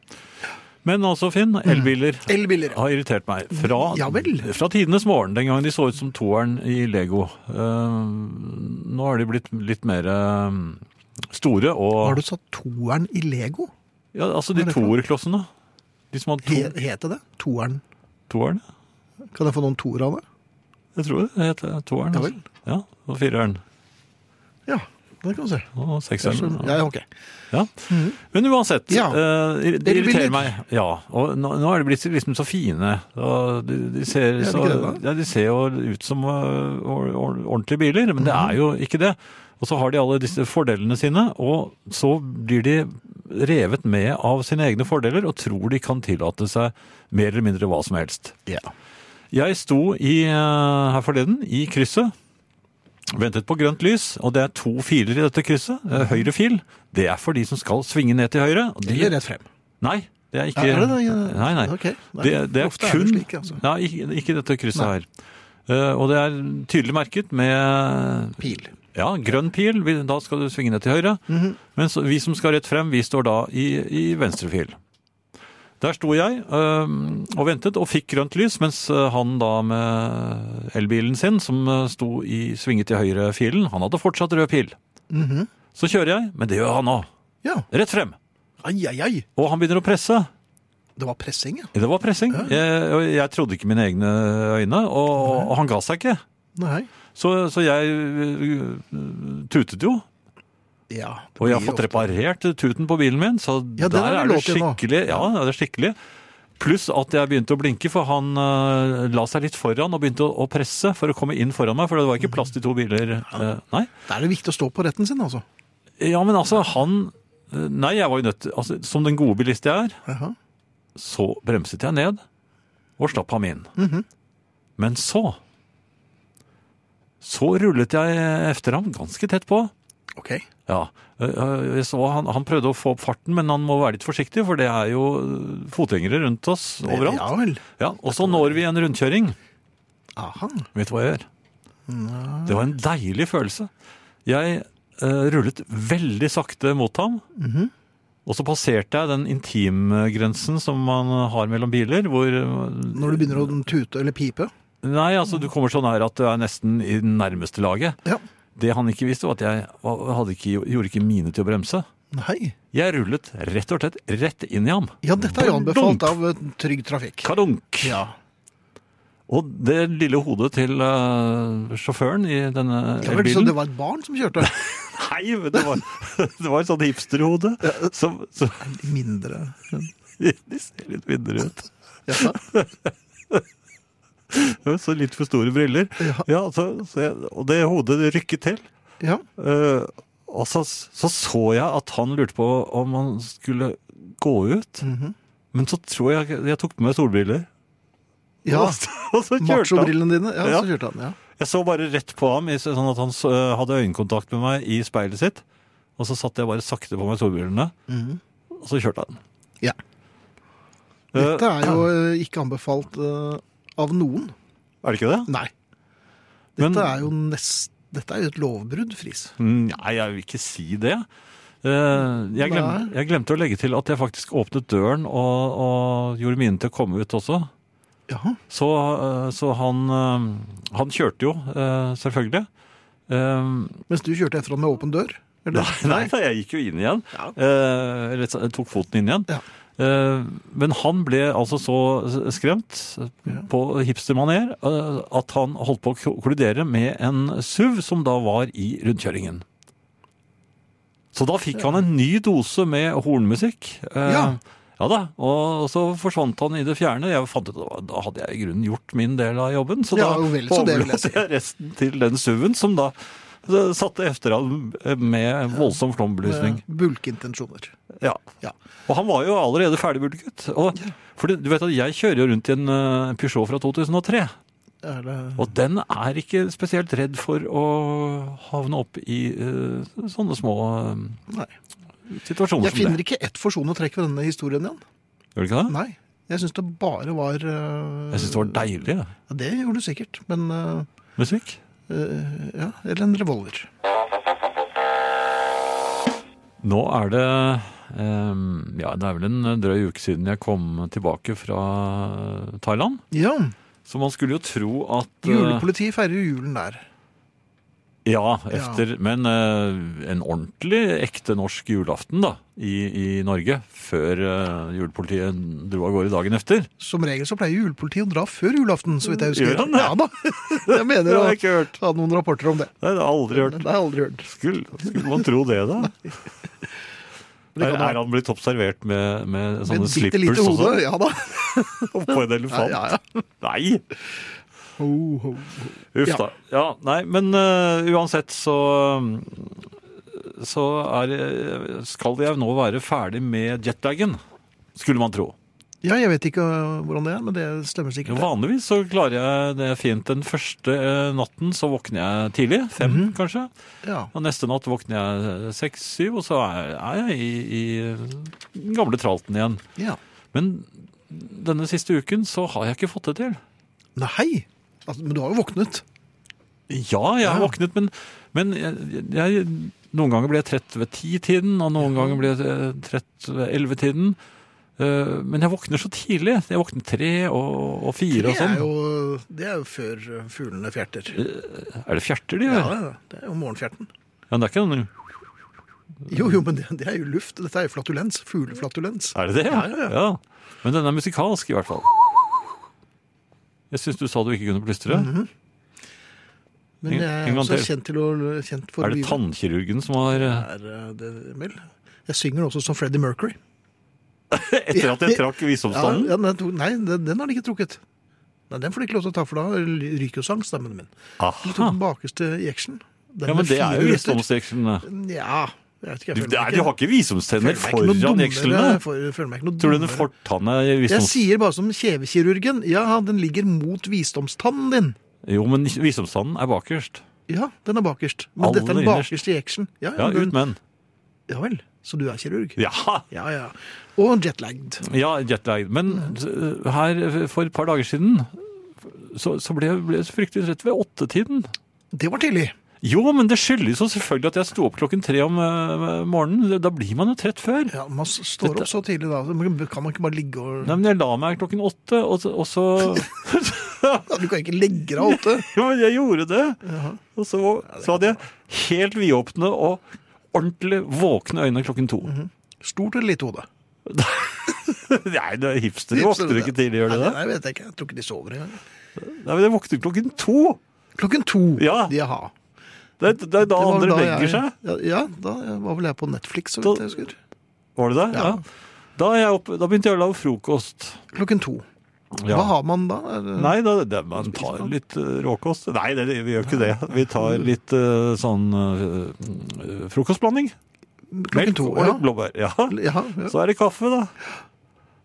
[SPEAKER 3] Men altså, Finn, elbiler
[SPEAKER 2] Elbiler.
[SPEAKER 3] har irritert meg. Fra,
[SPEAKER 2] Ja vel.
[SPEAKER 3] fra tidenes morgen, den gangen de så ut som toeren i Lego. Eh, nå har de blitt litt mer eh, store og
[SPEAKER 2] Har du satt toeren i Lego?
[SPEAKER 3] Ja, altså
[SPEAKER 2] Hva
[SPEAKER 3] de
[SPEAKER 2] er det for noe?
[SPEAKER 3] toerklossene. De som hadde
[SPEAKER 2] He,
[SPEAKER 3] to,
[SPEAKER 2] heter det? Toeren.
[SPEAKER 3] toeren.
[SPEAKER 2] Kan jeg få noen toer av det?
[SPEAKER 3] Jeg tror det het toeren.
[SPEAKER 2] Ja
[SPEAKER 3] altså.
[SPEAKER 2] vel.
[SPEAKER 3] Ja, og fireren.
[SPEAKER 2] Ja, det kan du se.
[SPEAKER 3] Og
[SPEAKER 2] Jeg skjønner.
[SPEAKER 3] sekseren.
[SPEAKER 2] Ja, ok.
[SPEAKER 3] Ja. Men uansett,
[SPEAKER 2] Ja.
[SPEAKER 3] eh, det
[SPEAKER 2] Elbiler.
[SPEAKER 3] irriterer meg. Ja, og nå, nå er de blitt liksom så fine. Og de, de, ser
[SPEAKER 2] det
[SPEAKER 3] så,
[SPEAKER 2] ikke det,
[SPEAKER 3] ja, de ser jo ut som eh, or- or- ordentlige biler, men det
[SPEAKER 2] Mhm.
[SPEAKER 3] er jo ikke det. Og så har de alle disse fordelene sine, og så blir de revet med av sine egne fordeler og tror de kan tillate seg mer eller mindre hva som helst.
[SPEAKER 2] Ja.
[SPEAKER 3] Jeg sto i, eh, her forleden i krysset ventet på grønt lys, og det er to filer i dette krysset. Eh,
[SPEAKER 2] Mhm.
[SPEAKER 3] Høyre fil, det er for de som skal svinge ned til høyre. og de-
[SPEAKER 2] Eller rett frem.
[SPEAKER 3] Nei, det er ikke
[SPEAKER 2] Er det det?
[SPEAKER 3] Nei, nei.
[SPEAKER 2] Ok. Nei,
[SPEAKER 3] Det, det er
[SPEAKER 2] ofte er
[SPEAKER 3] kun
[SPEAKER 2] det slik, altså.
[SPEAKER 3] Nei, ikke, ikke dette krysset
[SPEAKER 2] Nei.
[SPEAKER 3] her. Eh, og det er tydelig merket med
[SPEAKER 2] Pil.
[SPEAKER 3] Ja, grønn pil. Vi- Da skal du svinge ned til høyre. Mens vi som skal rett frem, vi står da i, i venstre fil. Der sto jeg øhm, og ventet og fikk grønt lys, mens øh, han da med elbilen sin, som øh, sto i svinget i høyre filen, han hadde fortsatt rød pil. Så kjører jeg, men det gjør han òg.
[SPEAKER 2] Ja.
[SPEAKER 3] Rett frem.
[SPEAKER 2] Ai, ai, ai.
[SPEAKER 3] Og han begynner å presse.
[SPEAKER 2] Det var pressing, ja.
[SPEAKER 3] Det var pressing. Jeg, og jeg trodde ikke mine egne øyne, og, og han ga seg ikke.
[SPEAKER 2] Nei.
[SPEAKER 3] Så, så jeg øh, tutet jo,
[SPEAKER 2] Ja, det
[SPEAKER 3] og jeg har
[SPEAKER 2] blir
[SPEAKER 3] fått
[SPEAKER 2] ofte-
[SPEAKER 3] reparert tuten på bilen min, så
[SPEAKER 2] Ja, det
[SPEAKER 3] der
[SPEAKER 2] er det
[SPEAKER 3] er det
[SPEAKER 2] lov til nå.
[SPEAKER 3] skikkelig. Ja, det er skikkelig. Pluss at jeg begynte å blinke, for han øh, la seg litt foran og begynte å, å presse for å komme inn foran meg, for det var ikke plass til to biler. øh, nei.
[SPEAKER 2] Da er det viktig å stå på retten sin, altså.
[SPEAKER 3] Ja, men altså, han øh, Nei, jeg var jo nødt til altså, Som den gode bilist jeg er,
[SPEAKER 2] Jaha.
[SPEAKER 3] Så bremset jeg ned og slapp ham inn.
[SPEAKER 2] Mhm.
[SPEAKER 3] Men så Så rullet jeg efter ham, ganske tett på.
[SPEAKER 2] Ok.
[SPEAKER 3] Ja, øh, øh, jeg så han, han prøvde å få opp farten, men han må være litt forsiktig, for det er jo øh, fotgjengere rundt oss overalt.
[SPEAKER 2] Ja vel.
[SPEAKER 3] Ja, og så når vi en rundkjøring.
[SPEAKER 2] Aha.
[SPEAKER 3] Vet du hva jeg gjør? Det var en deilig følelse. Jeg eh, rullet veldig sakte mot ham. Og så passerte jeg den intimgrensen som man har mellom biler, hvor eh,
[SPEAKER 2] Når du begynner å tute eller pipe.
[SPEAKER 3] Nei, altså, du kommer så nær at du er nesten i det nærmeste laget.
[SPEAKER 2] Ja.
[SPEAKER 3] Det han ikke visste, var at jeg var- hadde ikke, gjorde ikke mine til å bremse.
[SPEAKER 2] Nei.
[SPEAKER 3] Jeg rullet rett og slett rett inn i ham.
[SPEAKER 2] Ja, dette er jo
[SPEAKER 3] Dunk!
[SPEAKER 2] anbefalt av eh, Trygg Trafikk.
[SPEAKER 3] Kadunk!
[SPEAKER 2] Ja.
[SPEAKER 3] Og det lille hodet til eh, sjåføren i denne
[SPEAKER 2] ja vel,
[SPEAKER 3] elbilen
[SPEAKER 2] så det var et barn som kjørte?
[SPEAKER 3] Nei, men det var, det var et sånt hipsterhode som, som
[SPEAKER 2] Mindre.
[SPEAKER 3] De ser litt mindre ut.
[SPEAKER 2] Ja.
[SPEAKER 3] Så litt for store briller. Ja, så, så jeg, Og det hodet det rykket til.
[SPEAKER 2] ja.
[SPEAKER 3] Eh, og så så, så jeg at han lurte på om han skulle gå ut.
[SPEAKER 2] Mhm.
[SPEAKER 3] Men så tror jeg jeg tok på meg solbriller.
[SPEAKER 2] ja.
[SPEAKER 3] Og så, og så kjørte han.
[SPEAKER 2] Macho-brillene dine. Ja,
[SPEAKER 3] Ja.
[SPEAKER 2] så kjørte han. Ja.
[SPEAKER 3] Jeg så bare rett på ham, i- sånn at han så, hadde øyekontakt med meg i speilet sitt. Og så satte jeg bare sakte på meg solbrillene, og så kjørte han.
[SPEAKER 2] Mhm. Ja.
[SPEAKER 3] Eh,
[SPEAKER 2] Dette er jo eh, ikke anbefalt eh, av noen.
[SPEAKER 3] Er det ikke det?
[SPEAKER 2] Nei. Dette
[SPEAKER 3] Men-
[SPEAKER 2] er jo nest... Dette er jo et lovbrudd, Friis.
[SPEAKER 3] Mm, Nei, jeg vil ikke si det. Eh, Jeg, glem,
[SPEAKER 2] Nei.
[SPEAKER 3] jeg glemte å legge til at jeg faktisk åpnet døren og, og gjorde mine til å komme ut også.
[SPEAKER 2] Jaha.
[SPEAKER 3] Så, eh, så han, eh, han kjørte jo, eh, selvfølgelig. Eh,
[SPEAKER 2] Mens du kjørte etter han med åpen dør? Eller?
[SPEAKER 3] Nei, nei, da, jeg gikk jo inn igjen.
[SPEAKER 2] Ja.
[SPEAKER 3] Eh, eller så- tok foten inn igjen.
[SPEAKER 2] Ja.
[SPEAKER 3] Eh, men han ble altså så skremt eh, på hipstermaner eh, at han holdt på å kollidere med en SUV som da var i rundkjøringen. Så da fikk han en ny dose med hornmusikk. Eh,
[SPEAKER 2] Ja.
[SPEAKER 3] ja da, og så forsvant han i det fjerne. Jeg fant ut, at Da hadde jeg i grunnen gjort min del av jobben, så
[SPEAKER 2] Ja,
[SPEAKER 3] da
[SPEAKER 2] jo vel, så det vil jeg
[SPEAKER 3] overlot
[SPEAKER 2] si.
[SPEAKER 3] jeg resten til den SUV-en, som da eh, satte efter ham med voldsom flombelysning.
[SPEAKER 2] Eh, Bulkintensjoner.
[SPEAKER 3] Ja.
[SPEAKER 2] Ja.
[SPEAKER 3] Og han var jo allerede ferdigbulket. Og, for det- du vet at jeg kjører jo rundt i en eh, Peugeot fra 2003,
[SPEAKER 2] Er det
[SPEAKER 3] og den er ikke spesielt redd for å havne opp i eh, sånne små
[SPEAKER 2] Nei.
[SPEAKER 3] eh, situasjoner
[SPEAKER 2] Jeg
[SPEAKER 3] som
[SPEAKER 2] finner
[SPEAKER 3] det.
[SPEAKER 2] ikke ett forsonende trekk ved denne historien igjen.
[SPEAKER 3] Gjør du ikke det?
[SPEAKER 2] Nei. Jeg syns det bare var eh,
[SPEAKER 3] Jeg syns det var deilig ja.
[SPEAKER 2] ja, Det gjorde du sikkert, men eh,
[SPEAKER 3] musikk.
[SPEAKER 2] eh, Ja, eller en revolver.
[SPEAKER 3] Nå er det ehm, Ja, det er vel en drøy uke siden jeg kom tilbake fra Thailand.
[SPEAKER 2] Ja.
[SPEAKER 3] Så man skulle jo tro at eh,
[SPEAKER 2] Julepolitiet feirer jo julen der.
[SPEAKER 3] Ja, efter, men eh, en ordentlig ekte norsk julaften da, i, i Norge. Før eh, julepolitiet dro av gårde dagen efter.
[SPEAKER 2] Som regel så pleier julepolitiet å dra før julaften, så vidt jeg husker.
[SPEAKER 3] Mm, Gjør han det?
[SPEAKER 2] Ja da. Jeg mener å
[SPEAKER 3] ikke hørt.
[SPEAKER 2] ha noen rapporter om det.
[SPEAKER 3] Nei, det har jeg aldri
[SPEAKER 2] Men
[SPEAKER 3] hørt.
[SPEAKER 2] det har jeg aldri hørt.
[SPEAKER 3] Skulle, skulle man tro det, da?
[SPEAKER 2] Men det
[SPEAKER 3] er,
[SPEAKER 2] kan
[SPEAKER 3] er han blitt observert med, med
[SPEAKER 2] Med
[SPEAKER 3] sånne
[SPEAKER 2] et bitte
[SPEAKER 3] slippers
[SPEAKER 2] lite hode. Ja
[SPEAKER 3] også,
[SPEAKER 2] da.
[SPEAKER 3] oppå en elefant?
[SPEAKER 2] Ja, ja.
[SPEAKER 3] Nei!
[SPEAKER 2] Ho, ho, ho.
[SPEAKER 3] Uff
[SPEAKER 2] Ja.
[SPEAKER 3] da. Ja, nei, men øh, uansett så eh, så er, øh, skal jeg nå være ferdig med jetlagen, skulle man tro.
[SPEAKER 2] Ja, jeg vet ikke øh, hvordan det er, men det stemmer sikkert.
[SPEAKER 3] Vanligvis så klarer jeg det fint. Den første eh, natten så våkner jeg tidlig, fem kanskje.
[SPEAKER 2] Ja.
[SPEAKER 3] Og neste natt våkner jeg eh, seks, syv, og så er, er jeg i, i eh, den gamle tralten igjen.
[SPEAKER 2] ja.
[SPEAKER 3] Men denne siste uken så har jeg ikke fått det til.
[SPEAKER 2] Nei! Altså, men du har jo våknet.
[SPEAKER 3] Ja, jeg har
[SPEAKER 2] Ja.
[SPEAKER 3] våknet, men, men jeg, jeg, noen ganger blir jeg trett ved ti-tiden, og noen ganger blir jeg eh, trett ved elleve-tiden. Eh, Men jeg våkner så tidlig. Jeg våkner tre og, og fire
[SPEAKER 2] Det
[SPEAKER 3] og
[SPEAKER 2] er,
[SPEAKER 3] sånn.
[SPEAKER 2] jo, det er jo før øh, fuglene fjerter.
[SPEAKER 3] Er det fjerter de
[SPEAKER 2] Ja,
[SPEAKER 3] gjør? Ja.
[SPEAKER 2] ja, det er jo morgenfjerten.
[SPEAKER 3] men det er ikke noen...
[SPEAKER 2] Jo, jo, men det, det er jo luft. Dette er jo flatulens. Fugleflatulens.
[SPEAKER 3] Er det det?
[SPEAKER 2] Ja, ja, ja.
[SPEAKER 3] Men den er musikalsk i hvert fall. Jeg syns du sa du ikke kunne plystre.
[SPEAKER 2] Mhm. Men jeg
[SPEAKER 3] En
[SPEAKER 2] er
[SPEAKER 3] gang
[SPEAKER 2] også
[SPEAKER 3] til.
[SPEAKER 2] kjent, til å, kjent for
[SPEAKER 3] Er
[SPEAKER 2] å
[SPEAKER 3] det
[SPEAKER 2] lyve.
[SPEAKER 3] tannkirurgen som har eh,
[SPEAKER 2] Er eh, det vel? Jeg synger også som Freddie Mercury.
[SPEAKER 3] Etter at jeg trakk
[SPEAKER 2] Ja,
[SPEAKER 3] visdomstannen?
[SPEAKER 2] ja, den tok- nei, den, den har de ikke trukket. Nei, Den får de ikke lov til å ta, for da ryker jo sangstemmen min. Den tok
[SPEAKER 3] Aha.
[SPEAKER 2] den bakerste i action. Den
[SPEAKER 3] Ja, men
[SPEAKER 2] med
[SPEAKER 3] det er
[SPEAKER 2] fire
[SPEAKER 3] jo
[SPEAKER 2] retter.
[SPEAKER 3] visdomsjekslene.
[SPEAKER 2] Ja, jeg vet ikke. Jeg
[SPEAKER 3] Du,
[SPEAKER 2] føler
[SPEAKER 3] det
[SPEAKER 2] meg
[SPEAKER 3] er-
[SPEAKER 2] ikke-
[SPEAKER 3] du har ikke visdomstenner
[SPEAKER 2] føler meg ikke noe
[SPEAKER 3] foran
[SPEAKER 2] dummere,
[SPEAKER 3] jekslene?
[SPEAKER 2] for- Jeg føler meg ikke noe
[SPEAKER 3] Tror du den
[SPEAKER 2] dummere.
[SPEAKER 3] fortanna i
[SPEAKER 2] Jeg
[SPEAKER 3] visdoms...
[SPEAKER 2] sier bare som kjevekirurgen. Ja, den ligger mot visdomstannen din.
[SPEAKER 3] Jo, men visdomstannen er bakerst.
[SPEAKER 2] Ja, den er bakerst. Men
[SPEAKER 3] Aller
[SPEAKER 2] dette er den
[SPEAKER 3] innerst.
[SPEAKER 2] bakerste i action. Ja, ja,
[SPEAKER 3] Ja,
[SPEAKER 2] den,
[SPEAKER 3] ut med den.
[SPEAKER 2] ja vel. Så du er kirurg?
[SPEAKER 3] Ja,
[SPEAKER 2] Ja, ja. Og jetlagged.
[SPEAKER 3] ja jetlagged. Men eh, her for et par dager siden så, så ble jeg ble jeg så fryktelig trett ved åttetiden.
[SPEAKER 2] Det var tidlig.
[SPEAKER 3] Jo, men det skyldes jo selvfølgelig at jeg sto opp klokken tre om eh, morgenen. Da blir man jo trett før.
[SPEAKER 2] Ja, Man s- står
[SPEAKER 3] Dette-
[SPEAKER 2] opp så tidlig da. Men Kan man ikke bare ligge og
[SPEAKER 3] Nei, men jeg la meg klokken åtte, og, så- og så
[SPEAKER 2] Du kan ikke legge deg åtte?
[SPEAKER 3] Jo, men jeg gjorde det. Og så, så hadde jeg helt vidåpne og ordentlig våkne øyne klokken to.
[SPEAKER 2] Stort eller lite hode?
[SPEAKER 3] Nei, det er hipstere våkner ikke tidlig, gjør de
[SPEAKER 2] Nei,
[SPEAKER 3] det?
[SPEAKER 2] Nei, jeg vet jeg ikke. Jeg tror ikke de sover engang.
[SPEAKER 3] Nei, men jeg våkner klokken to.
[SPEAKER 2] Klokken to.
[SPEAKER 3] Ja.
[SPEAKER 2] Jaha.
[SPEAKER 3] Det er, det er da
[SPEAKER 2] Det var
[SPEAKER 3] andre
[SPEAKER 2] da
[SPEAKER 3] legger
[SPEAKER 2] jeg-
[SPEAKER 3] seg.
[SPEAKER 2] Ja, ja, da var vel jeg på Netflix, så
[SPEAKER 3] Da-
[SPEAKER 2] vidt jeg husker.
[SPEAKER 3] Var det det? Ja.
[SPEAKER 2] Ja.
[SPEAKER 3] Da, er jeg oppe, da begynte jeg å lage frokost.
[SPEAKER 2] Klokken to. Hva
[SPEAKER 3] Ja.
[SPEAKER 2] har man da? Er det-
[SPEAKER 3] Nei, da, det, man tar litt eh, råkost. Nei, det, vi gjør ikke det. Vi tar litt eh, sånn eh, eh, frokostblanding.
[SPEAKER 2] Klokken to,
[SPEAKER 3] og
[SPEAKER 2] ja.
[SPEAKER 3] litt blåbær. Ja.
[SPEAKER 2] Ja, ja.
[SPEAKER 3] Så er det kaffe, da.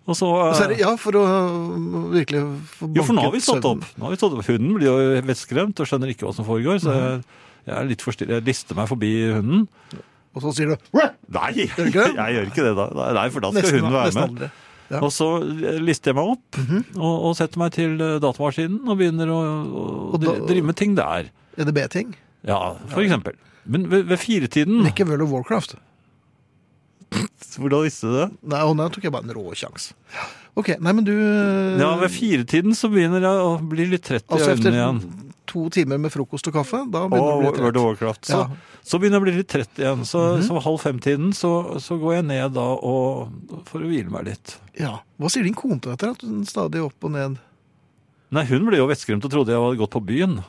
[SPEAKER 3] Og så, eh,
[SPEAKER 2] Og så er det, ja, for å øh, virkelig få
[SPEAKER 3] Jo, for nå har vi
[SPEAKER 2] banket
[SPEAKER 3] stått
[SPEAKER 2] søvnen.
[SPEAKER 3] opp. Nå har vi stått opp. Hunden blir jo vettskremt og skjønner ikke hva som foregår, så jeg, jeg er litt forstyrret. Jeg lister meg forbi hunden.
[SPEAKER 2] Og så sier du «Wah!»
[SPEAKER 3] Nei,
[SPEAKER 2] du ikke det?
[SPEAKER 3] jeg gjør ikke det da. Nei, for da skal
[SPEAKER 2] nesten,
[SPEAKER 3] hunden være
[SPEAKER 2] nesten
[SPEAKER 3] med.
[SPEAKER 2] aldri. Ja. Mhm.
[SPEAKER 3] Og så eh, lister jeg meg opp og, og setter meg til eh, datamaskinen og begynner å, å
[SPEAKER 2] Og da-
[SPEAKER 3] dri- drive med ting der.
[SPEAKER 2] Er det B-ting?
[SPEAKER 3] Ja, for eksempel. Men ved, ved firetiden
[SPEAKER 2] Ikke World of Warcraft.
[SPEAKER 3] Hvordan visste du det?
[SPEAKER 2] Nei, og nå tok jeg bare en rå sjanse. Ok, nei, men du øh,
[SPEAKER 3] Mm. Ja, ved firetiden så begynner jeg å bli litt trett i
[SPEAKER 2] Altså
[SPEAKER 3] øynene
[SPEAKER 2] etter
[SPEAKER 3] igjen.
[SPEAKER 2] to timer med frokost og kaffe, da begynner du å
[SPEAKER 3] Og
[SPEAKER 2] bli
[SPEAKER 3] World of
[SPEAKER 2] trett.
[SPEAKER 3] Warcraft. Så,
[SPEAKER 2] Ja. Mhm.
[SPEAKER 3] så begynner jeg å bli litt trett igjen. Så, så halv fem-tiden så, så går jeg ned da og, for å hvile meg litt.
[SPEAKER 2] Ja. Hva sier din kone til dette? At hun stadig er opp og ned?
[SPEAKER 3] Nei, hun ble jo vettskremt og trodde jeg hadde gått på byen.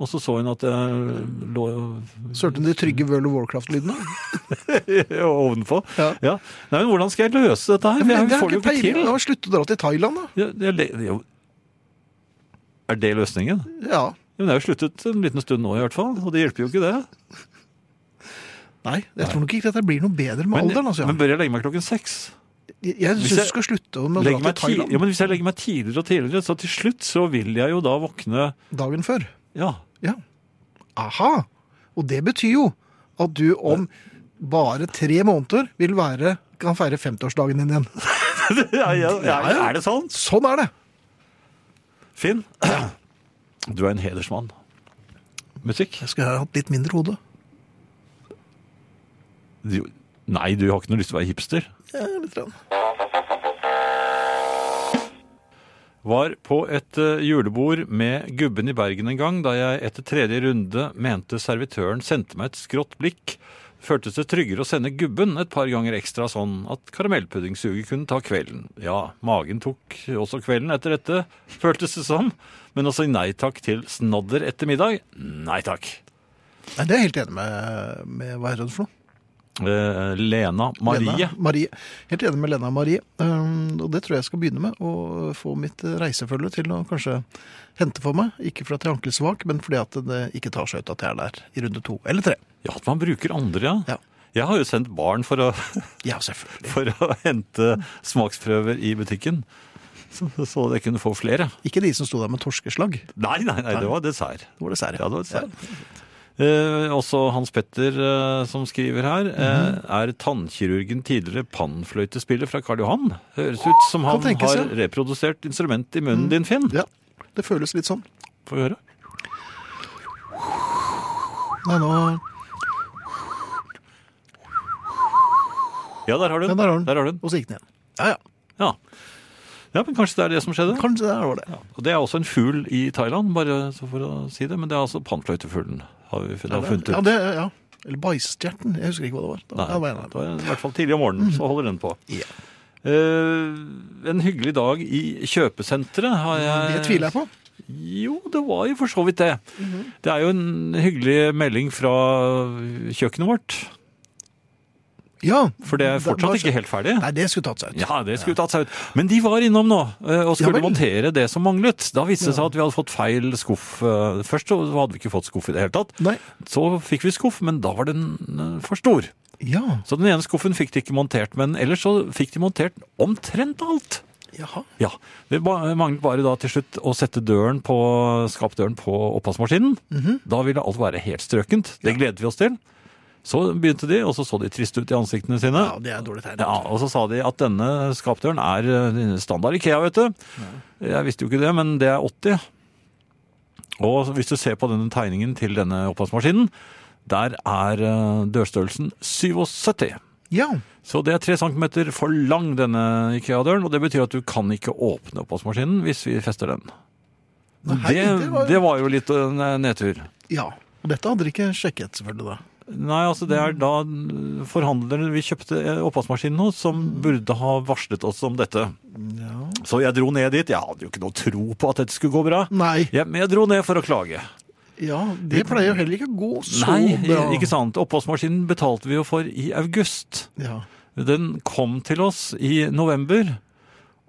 [SPEAKER 3] Og så så hun at jeg lå
[SPEAKER 2] Sølte hun de trygge World of Warcraft-lydene?
[SPEAKER 3] ovenpå.
[SPEAKER 2] Ja.
[SPEAKER 3] Ja. Nei, men hvordan skal jeg løse dette her?
[SPEAKER 2] Men
[SPEAKER 3] Jeg
[SPEAKER 2] det er
[SPEAKER 3] får det jo
[SPEAKER 2] ikke
[SPEAKER 3] ikke
[SPEAKER 2] peiling.
[SPEAKER 3] til.
[SPEAKER 2] Da Slutt å dra til Thailand, da.
[SPEAKER 3] Jeg, jeg, le- jo. Er det løsningen?
[SPEAKER 2] Ja.
[SPEAKER 3] Ja, Men jeg har jo sluttet en liten stund nå i hvert fall, og det hjelper jo ikke det.
[SPEAKER 2] Nei, jeg tror nok ikke dette blir noe bedre med
[SPEAKER 3] Men,
[SPEAKER 2] alderen. altså.
[SPEAKER 3] men bør jeg legge meg klokken seks?
[SPEAKER 2] Jeg, jeg
[SPEAKER 3] Hvis
[SPEAKER 2] syns
[SPEAKER 3] jeg-
[SPEAKER 2] du skal slutte med å
[SPEAKER 3] Legge
[SPEAKER 2] dra til
[SPEAKER 3] meg ti-
[SPEAKER 2] Thailand
[SPEAKER 3] Ja, men hvis jeg legger meg tidligere og tidligere, så til slutt så vil jeg jo da våkne
[SPEAKER 2] dagen før.
[SPEAKER 3] Ja.
[SPEAKER 2] Ja. Aha! Og det betyr jo at du om bare tre måneder vil være kan feire 50-årsdagen din igjen.
[SPEAKER 3] Ja, ja, ja, er det sant?
[SPEAKER 2] Sånn er det!
[SPEAKER 3] Finn, du er en hedersmann. Musikk?
[SPEAKER 2] Jeg skulle ha hatt litt mindre hode.
[SPEAKER 3] Du, nei, du har ikke noe lyst til å være hipster.
[SPEAKER 2] Ja, litt grann.
[SPEAKER 3] Var på et eh, julebord med gubben i Bergen en gang, da jeg etter tredje runde mente servitøren sendte meg et skrått blikk. Føltes det tryggere å sende gubben et par ganger ekstra sånn at karamellpuddingsuget kunne ta kvelden. Ja, magen tok også kvelden etter dette, føltes det som. Men å si nei takk til snadder etter middag? Nei takk.
[SPEAKER 2] Nei, det er jeg helt enig med, med hva er det for noe?
[SPEAKER 3] Eh, Lena Marie.
[SPEAKER 2] Lena Marie. Helt enig med Lena Marie. Um, og det tror jeg jeg skal begynne med. Å få mitt eh, reisefølge til å kanskje hente for meg. Ikke fordi at jeg er ankelsvak, men fordi at det ikke tar seg ut at jeg er der i runde to eller tre.
[SPEAKER 3] Ja, at man bruker andre, ja.
[SPEAKER 2] Ja.
[SPEAKER 3] Jeg har jo sendt barn for å,
[SPEAKER 2] Ja, selvfølgelig.
[SPEAKER 3] for å hente smaksprøver i butikken. Så, så jeg kunne få flere.
[SPEAKER 2] Ikke de som sto der med torskeslag.
[SPEAKER 3] Nei, nei, nei, det var dessert.
[SPEAKER 2] Det var dessert.
[SPEAKER 3] Ja, det var dessert. Eh, også Hans Petter, eh, som skriver her, eh,
[SPEAKER 2] Mhm.
[SPEAKER 3] er tannkirurgen tidligere pannfløytespiller fra Karl Johan. Høres ut som han
[SPEAKER 2] Kan tenkes,
[SPEAKER 3] har
[SPEAKER 2] ja. Mhm.
[SPEAKER 3] reprodusert instrumentet i munnen din, Finn.
[SPEAKER 2] Ja. Det føles litt sånn.
[SPEAKER 3] Få høre.
[SPEAKER 2] Nei, nå
[SPEAKER 3] Ja, der har du
[SPEAKER 2] Den
[SPEAKER 3] den.
[SPEAKER 2] der har den.
[SPEAKER 3] Der har du den.
[SPEAKER 2] Og så gikk den igjen. Ja, ja.
[SPEAKER 3] Ja. ja, men kanskje det er det som skjedde.
[SPEAKER 2] Kanskje det var det.
[SPEAKER 3] Ja, og det er også en fugl i Thailand, bare så for å si det. Men det er altså pannfløytefuglen. Har vi har funnet ut.
[SPEAKER 2] Ja, det, ja. Eller bæsjstjerten. Jeg husker ikke hva det var. Da,
[SPEAKER 3] Nei,
[SPEAKER 2] da var jeg
[SPEAKER 3] det
[SPEAKER 2] nær.
[SPEAKER 3] var i hvert fall tidlig om morgenen, så holder den på.
[SPEAKER 2] Ja.
[SPEAKER 3] Eh, en hyggelig dag i kjøpesenteret har jeg
[SPEAKER 2] Mm, Det tviler jeg på. Mhm.
[SPEAKER 3] Jo, det var jo for så vidt det. Det er jo en hyggelig melding fra kjøkkenet vårt.
[SPEAKER 2] Ja.
[SPEAKER 3] For det er
[SPEAKER 2] Da-
[SPEAKER 3] fortsatt
[SPEAKER 2] da-
[SPEAKER 3] ikke helt ferdig.
[SPEAKER 2] Nei, det skulle tatt seg ut.
[SPEAKER 3] Ja, det skulle tatt seg ut. Men de var innom nå eh, og skulle
[SPEAKER 2] Ja vel.
[SPEAKER 3] montere det som manglet. Da viste det seg at vi hadde fått feil skuff. eh, Først så hadde vi ikke fått skuff i det hele tatt.
[SPEAKER 2] Nei.
[SPEAKER 3] Så fikk vi skuff, men da var den eh, for stor.
[SPEAKER 2] Ja.
[SPEAKER 3] Så den ene skuffen fikk de ikke montert, men ellers så fikk de montert omtrent alt.
[SPEAKER 2] Jaha.
[SPEAKER 3] Ja, Det ba- manglet bare da til slutt å sette døren på, skapdøren på oppvaskmaskinen. Da ville alt være helt strøkent. Det gledet vi oss til. Så begynte de, og så så de triste ut i ansiktene sine.
[SPEAKER 2] Ja, det er et dårlig tegn.
[SPEAKER 3] Ja, og så sa de at denne skapdøren er eh, standard Ikea, vet du. Jeg visste jo ikke det, men det er 80. Og hvis du ser på denne tegningen til denne oppvaskmaskinen, der er eh, dørstørrelsen 77.
[SPEAKER 2] Ja.
[SPEAKER 3] Så det er tre centimeter for lang denne IKEA-døren, og det betyr at du kan ikke åpne oppvaskmaskinen hvis vi fester den.
[SPEAKER 2] Nei,
[SPEAKER 3] det,
[SPEAKER 2] det var-
[SPEAKER 3] det var jo litt en nedtur.
[SPEAKER 2] ja. Og dette hadde de ikke sjekket, selvfølgelig, da.
[SPEAKER 3] Nei, altså det er da forhandleren vi kjøpte eh, oppvaskmaskinen hos, som burde ha varslet oss om dette. Så jeg dro ned dit. Jeg hadde jo ikke noe tro på at dette skulle gå bra.
[SPEAKER 2] Nei.
[SPEAKER 3] Jeg, men jeg dro ned for å klage.
[SPEAKER 2] Ja, det pleier jo heller ikke å gå så
[SPEAKER 3] Nei,
[SPEAKER 2] bra.
[SPEAKER 3] ikke sant. Oppvaskmaskinen betalte vi jo for i august.
[SPEAKER 2] Ja.
[SPEAKER 3] Den kom til oss i november.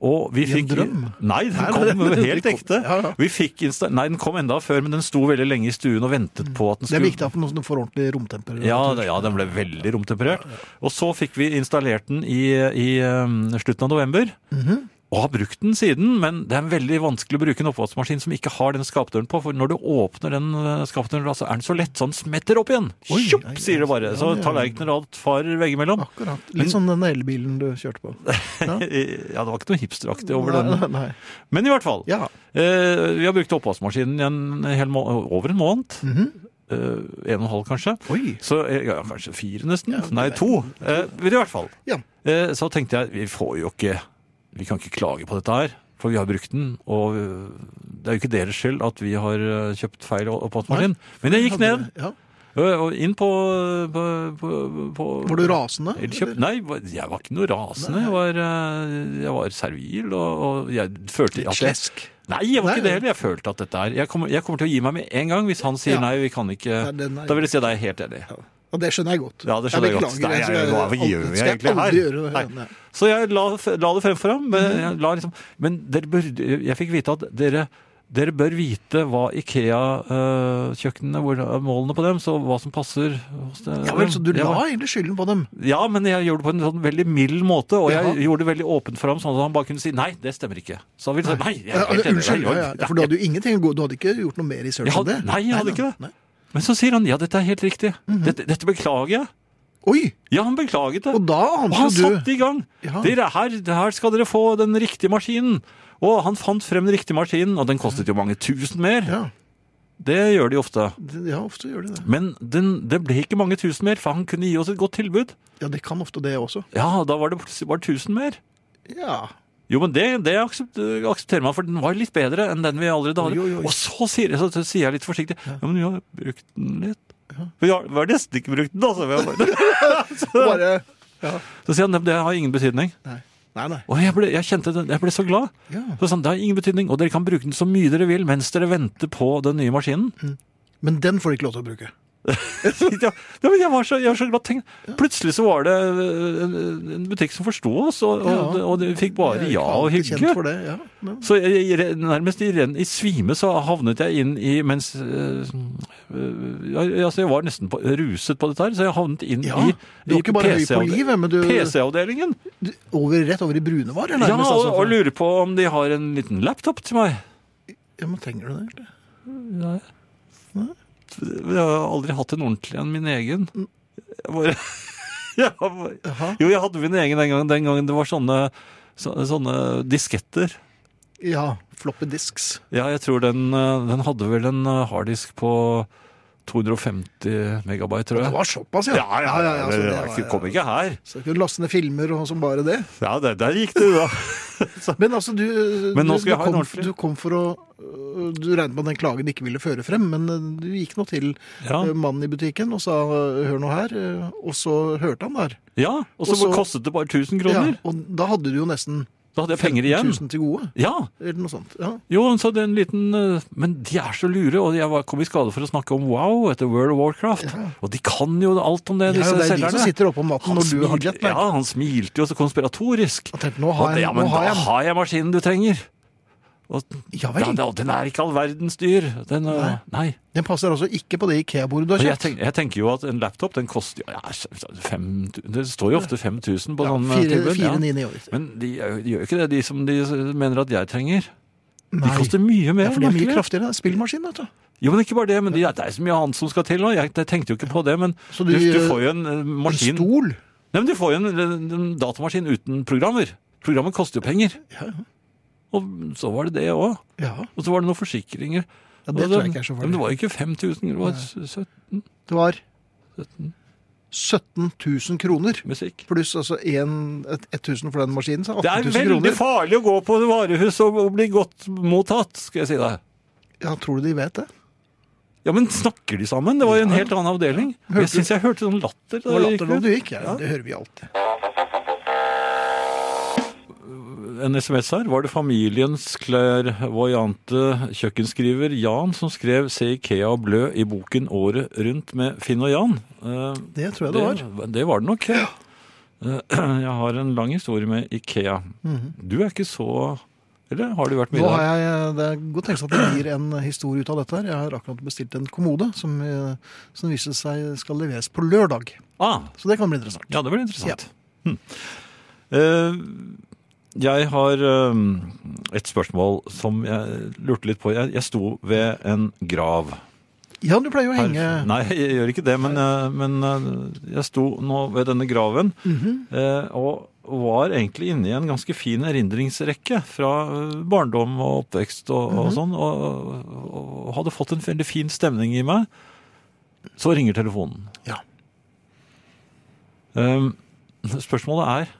[SPEAKER 3] Og
[SPEAKER 2] I
[SPEAKER 3] vi
[SPEAKER 2] en
[SPEAKER 3] fikk,
[SPEAKER 2] drøm?
[SPEAKER 3] Nei, den
[SPEAKER 2] Nei,
[SPEAKER 3] kom
[SPEAKER 2] det- det-
[SPEAKER 3] helt
[SPEAKER 2] det kom-
[SPEAKER 3] ekte.
[SPEAKER 2] ja, ja.
[SPEAKER 3] Vi fikk insta nei, den kom enda før, men den sto veldig lenge i stuen og ventet på at den
[SPEAKER 2] Det er
[SPEAKER 3] skulle
[SPEAKER 2] viktig at man sånn får ordentlig romtemper.
[SPEAKER 3] Ja, det- ja, den ble veldig romtemperert. Og så fikk vi installert den i, i um, slutten av november.
[SPEAKER 2] Mhm.
[SPEAKER 3] Og har brukt den siden, men det er veldig vanskelig å bruke en oppvaskmaskin som ikke har den skapdøren på. For når du åpner den eh, skapdøren, da, så er den så lett, så den smetter opp igjen.
[SPEAKER 2] Oi,
[SPEAKER 3] Tjopp,
[SPEAKER 2] nei,
[SPEAKER 3] sier det bare.
[SPEAKER 2] ja,
[SPEAKER 3] Så
[SPEAKER 2] ja.
[SPEAKER 3] tallerkener og alt farer veggimellom.
[SPEAKER 2] Akkurat. Litt som den elbilen du kjørte på.
[SPEAKER 3] Ja, det var ikke noe hipsteraktig over
[SPEAKER 2] Nei,
[SPEAKER 3] den.
[SPEAKER 2] Nei, nei.
[SPEAKER 3] Men i hvert fall.
[SPEAKER 2] Ja.
[SPEAKER 3] Eh, vi har brukt oppvaskmaskinen i en hel må over en måned. eh, en og en halv, kanskje.
[SPEAKER 2] Mhm. Oi.
[SPEAKER 3] Så, eh, ja, kanskje fire, nesten. Nei, to. Eh, men I hvert fall.
[SPEAKER 2] Ja.
[SPEAKER 3] Eh, så tenkte jeg vi får jo ikke Vi kan ikke klage på dette her. For vi har brukt den, og eh, det er jo ikke deres skyld at vi har eh, kjøpt feil oppvaskmaskin. Men jeg gikk ned
[SPEAKER 2] Ja.
[SPEAKER 3] eh, og inn på, på, på, på
[SPEAKER 2] Var du rasende?
[SPEAKER 3] Elkjøp? Nei, jeg var ikke noe rasende. Jeg var, eh, jeg var servil, og, og jeg følte at jeg,
[SPEAKER 2] Slesk.
[SPEAKER 3] Nei, jeg var
[SPEAKER 2] Nei,
[SPEAKER 3] ikke det
[SPEAKER 2] nei.
[SPEAKER 3] heller. Jeg følte at dette er jeg kommer, jeg kommer til å gi meg med en gang hvis han sier
[SPEAKER 2] Ja.
[SPEAKER 3] nei, vi kan ikke
[SPEAKER 2] Nei, den er-
[SPEAKER 3] Da vil jeg si at jeg er helt enig.
[SPEAKER 2] Ja, det skjønner jeg godt.
[SPEAKER 3] Ja, det skjønner jeg godt.
[SPEAKER 2] beklager,
[SPEAKER 3] Nei, jeg-
[SPEAKER 2] skal-
[SPEAKER 3] hva gjør jeg
[SPEAKER 2] skal
[SPEAKER 3] egentlig her?
[SPEAKER 2] aldri Gjøre det.
[SPEAKER 3] Nei.
[SPEAKER 2] Nei.
[SPEAKER 3] Så jeg la, la det fremfor ham.
[SPEAKER 2] Mhm.
[SPEAKER 3] Men, jeg, la liksom, men dere burde, jeg fikk vite at dere dere bør vite hva Ikea-kjøkkenene, hvor er målene på dem, så hva som passer hos det.
[SPEAKER 2] Ja vel, så du
[SPEAKER 3] Jeg var-
[SPEAKER 2] la egentlig skylden på dem?
[SPEAKER 3] Ja, men jeg gjorde det på en sånn veldig mild måte, og jeg
[SPEAKER 2] Jaha.
[SPEAKER 3] gjorde det veldig åpent for ham, sånn at han bare kunne si nei, det stemmer ikke. Så han ville si nei. jeg
[SPEAKER 2] Ja,
[SPEAKER 3] er helt enig,
[SPEAKER 2] unnskyld,
[SPEAKER 3] nei,
[SPEAKER 2] ja, ja. for du hadde jo ingenting å gå Du hadde ikke gjort noe mer i
[SPEAKER 3] Jeg
[SPEAKER 2] search enn
[SPEAKER 3] hadde,
[SPEAKER 2] det?
[SPEAKER 3] nei, jeg hadde ikke det. Men så sier han ja, dette er helt riktig.
[SPEAKER 2] Mhm.
[SPEAKER 3] dette, dette beklager jeg.
[SPEAKER 2] Oi!
[SPEAKER 3] Ja, han beklaget det.
[SPEAKER 2] Og da
[SPEAKER 3] Og han
[SPEAKER 2] ante jo
[SPEAKER 3] satte
[SPEAKER 2] du
[SPEAKER 3] i gang.
[SPEAKER 2] Ja.
[SPEAKER 3] Dere, her, her skal dere få den riktige maskinen. Og han fant frem den riktige maskinen, og den kostet jo mange tusen mer.
[SPEAKER 2] ja,
[SPEAKER 3] Det gjør de ofte.
[SPEAKER 2] det- ja, ofte gjør de det.
[SPEAKER 3] Men den, det ble ikke mange tusen mer, for han kunne gi oss et godt tilbud.
[SPEAKER 2] Ja, det kan ofte det også.
[SPEAKER 3] Ja, da var det plutselig bare tusen mer.
[SPEAKER 2] Ja.
[SPEAKER 3] Jo, men det, det aksept, aksepterer man, for den var litt bedre enn den vi allerede hadde.
[SPEAKER 2] Oi, oi, oi.
[SPEAKER 3] Og så sier, jeg- så, så sier jeg litt forsiktig ja. men vi har brukt den litt. Vi har, vi har nesten ikke brukt den, altså. Vi har bare-
[SPEAKER 2] Bare
[SPEAKER 3] så sier han at det har ingen betydning.
[SPEAKER 2] Nei, nei. nei.
[SPEAKER 3] Og jeg ble, jeg kjente det, jeg ble så glad.
[SPEAKER 2] Ja.
[SPEAKER 3] Så sånn, det har ingen betydning, og dere kan bruke den så mye dere vil mens dere venter på den nye maskinen.
[SPEAKER 2] Mm. Men den får de ikke lov til å bruke.
[SPEAKER 3] ja, ja, men jeg, var så, jeg var så glad. Tenk, plutselig så var det øh, en, en butikk som forsto oss, og, og,
[SPEAKER 2] Ja.
[SPEAKER 3] og de fikk bare
[SPEAKER 2] Jeg
[SPEAKER 3] ja
[SPEAKER 2] er
[SPEAKER 3] og
[SPEAKER 2] ikke
[SPEAKER 3] hygge.
[SPEAKER 2] Kjent for det, ja. Men-
[SPEAKER 3] Så jeg, jeg, nærmest i, ren, i svime så havnet jeg inn i Mens eh, øh, jeg, altså jeg var nesten på, ruset på dette her, så jeg havnet inn
[SPEAKER 2] Ja,
[SPEAKER 3] i,
[SPEAKER 2] du er
[SPEAKER 3] i
[SPEAKER 2] ikke bare høy på
[SPEAKER 3] PC-avde-
[SPEAKER 2] livet, men du-
[SPEAKER 3] PC-avdelingen.
[SPEAKER 2] Over, rett over i brunevarer,
[SPEAKER 3] Ja,
[SPEAKER 2] nærmest.
[SPEAKER 3] og,
[SPEAKER 2] altså.
[SPEAKER 3] og lurer på om de har en liten laptop til meg.
[SPEAKER 2] ja, men trenger du det? egentlig?
[SPEAKER 3] Nei. Jeg har aldri hatt en ordentlig en, min egen.
[SPEAKER 2] Mm.
[SPEAKER 3] Jeg bare... Jeg har-
[SPEAKER 2] Jaha.
[SPEAKER 3] jo, jeg hadde min egen den gangen, den gangen det var sånne, så, sånne disketter.
[SPEAKER 2] Ja. Floppy disks.
[SPEAKER 3] Ja, jeg tror den, eh, den hadde vel en eh, harddisk på 250 megabyte, tror
[SPEAKER 2] Det
[SPEAKER 3] jeg.
[SPEAKER 2] var såpass, ja.
[SPEAKER 3] Ja, ja, ja,
[SPEAKER 2] så
[SPEAKER 3] det,
[SPEAKER 2] det
[SPEAKER 3] var
[SPEAKER 2] var-
[SPEAKER 3] ikke- kom ikke her.
[SPEAKER 2] Så du kunne laste ned filmer og som bare det.
[SPEAKER 3] Ja, der, der gikk det, da.
[SPEAKER 2] Men altså, du,
[SPEAKER 3] Men nå
[SPEAKER 2] du-
[SPEAKER 3] skal jeg
[SPEAKER 2] du
[SPEAKER 3] ha en
[SPEAKER 2] kom,
[SPEAKER 3] ordentlig.
[SPEAKER 2] Du kom for å øh, Du regnet med at den klagen ikke ville føre frem, men øh, du gikk nå til
[SPEAKER 3] Ja.
[SPEAKER 2] øh, mannen i butikken og sa øh, 'hør nå her', øh, og så hørte han der.
[SPEAKER 3] Ja, Og så
[SPEAKER 2] Og så-
[SPEAKER 3] kostet det bare 1000
[SPEAKER 2] Ja,
[SPEAKER 3] kroner.
[SPEAKER 2] og da hadde du jo nesten
[SPEAKER 3] Da hadde jeg penger igjen.
[SPEAKER 2] 1000 til gode,
[SPEAKER 3] Ja,
[SPEAKER 2] eller noe sånt. Ja.
[SPEAKER 3] Jo, han sa det er en liten eh, Men de er så lure, og jeg var- kom i skade for å snakke om Wow etter World of Warcraft. Og de kan jo alt om det,
[SPEAKER 2] Ja,
[SPEAKER 3] disse
[SPEAKER 2] det er de
[SPEAKER 3] selgerne.
[SPEAKER 2] som sitter oppe om natten når du har
[SPEAKER 3] smil-
[SPEAKER 2] jetlag.
[SPEAKER 3] Ja, han smilte jo så konspiratorisk.
[SPEAKER 2] Og tenkte, nå har
[SPEAKER 3] At,
[SPEAKER 2] jeg,
[SPEAKER 3] ja,
[SPEAKER 2] nå
[SPEAKER 3] men
[SPEAKER 2] har
[SPEAKER 3] da
[SPEAKER 2] jeg.
[SPEAKER 3] har jeg maskinen du trenger. Og,
[SPEAKER 2] Ja
[SPEAKER 3] ja,
[SPEAKER 2] vel.
[SPEAKER 3] da- den er ikke all verdens dyr. Den, eh, nei.
[SPEAKER 2] Den passer altså ikke på det Ikea-bordet du
[SPEAKER 3] Og
[SPEAKER 2] har
[SPEAKER 3] jeg,
[SPEAKER 2] kjøpt.
[SPEAKER 3] tenk, jeg tenker jo at en laptop den koster jo ja, fem, Det står jo ofte 5000 på
[SPEAKER 2] Ja,
[SPEAKER 3] sånn eh,
[SPEAKER 2] fire-
[SPEAKER 3] tilbud. ja.
[SPEAKER 2] 499.
[SPEAKER 3] Men de, gjør- de gjør jo ikke det, de som de mener at jeg trenger. De
[SPEAKER 2] Nei.
[SPEAKER 3] koster mye mer.
[SPEAKER 2] Ja, for det er mye
[SPEAKER 3] merkelig.
[SPEAKER 2] kraftigere. det er Spillmaskin, vet du.
[SPEAKER 3] Jo, men ikke bare det, men de- det er så mye annet som skal til nå. Jeg, jeg tenkte jo ikke på det, men
[SPEAKER 2] Så
[SPEAKER 3] du,
[SPEAKER 2] du-
[SPEAKER 3] du får jo en eh,
[SPEAKER 2] En
[SPEAKER 3] maskin
[SPEAKER 2] stol.
[SPEAKER 3] Nei, men du får jo en, en datamaskin uten programmer. Programmet koster jo penger. Og så var det det òg.
[SPEAKER 2] Ja,
[SPEAKER 3] Og så var det noen forsikringer.
[SPEAKER 2] ja
[SPEAKER 3] Og
[SPEAKER 2] det tror jeg ikke er så
[SPEAKER 3] Men det
[SPEAKER 2] farlig.
[SPEAKER 3] var jo ikke 5000, det var 17
[SPEAKER 2] Det var
[SPEAKER 3] 17
[SPEAKER 2] 17 000 kroner.
[SPEAKER 3] musikk.
[SPEAKER 2] Pluss altså en, et, 1000 for den maskinen. Så
[SPEAKER 3] Det er
[SPEAKER 2] 18 000 kroner.
[SPEAKER 3] veldig farlig å gå på varehus og, og bli godt mottatt, skal jeg si deg.
[SPEAKER 2] Ja, tror du de vet det?
[SPEAKER 3] Ja, men snakker de sammen? Det var jo en helt annen avdeling. Jeg syns jeg hørte sånn latter.
[SPEAKER 2] Det
[SPEAKER 3] da
[SPEAKER 2] var
[SPEAKER 3] jeg gikk
[SPEAKER 2] latter da
[SPEAKER 3] ut.
[SPEAKER 2] du gikk. Ja, det hører vi alltid.
[SPEAKER 3] en SMS her. Var det familiens klærvoiante kjøkkenskriver Jan som skrev 'Se Ikea og blø' i boken året rundt med Finn og Jan? Eh,
[SPEAKER 2] Det tror jeg det var.
[SPEAKER 3] Det, det var det nok. Eh, Jeg har en lang historie med Ikea. Du er ikke så Eller har du vært mye
[SPEAKER 2] Mhm. Nå har
[SPEAKER 3] der?
[SPEAKER 2] jeg, eh, det er godt tenkes at det blir en historie ut av dette. her. Jeg har akkurat bestilt en kommode som, eh, som viser seg skal leveres på lørdag.
[SPEAKER 3] Ah,
[SPEAKER 2] Så det kan bli interessant.
[SPEAKER 3] Ja, det blir interessant. Hm. Eh, jeg har eh, et spørsmål som jeg lurte litt på. Jeg, jeg sto ved en grav.
[SPEAKER 2] Ja, du pleier jo å
[SPEAKER 3] Her-
[SPEAKER 2] henge
[SPEAKER 3] Nei, jeg gjør ikke det, men, eh, men eh, jeg sto nå ved denne graven
[SPEAKER 2] Mhm.
[SPEAKER 3] eh, og var egentlig inne i en ganske fin erindringsrekke fra eh, barndom og oppvekst og,
[SPEAKER 2] Mhm.
[SPEAKER 3] og sånn, og, og hadde fått en veldig fin stemning i meg. Så ringer telefonen.
[SPEAKER 2] Ja.
[SPEAKER 3] Ehm, spørsmålet er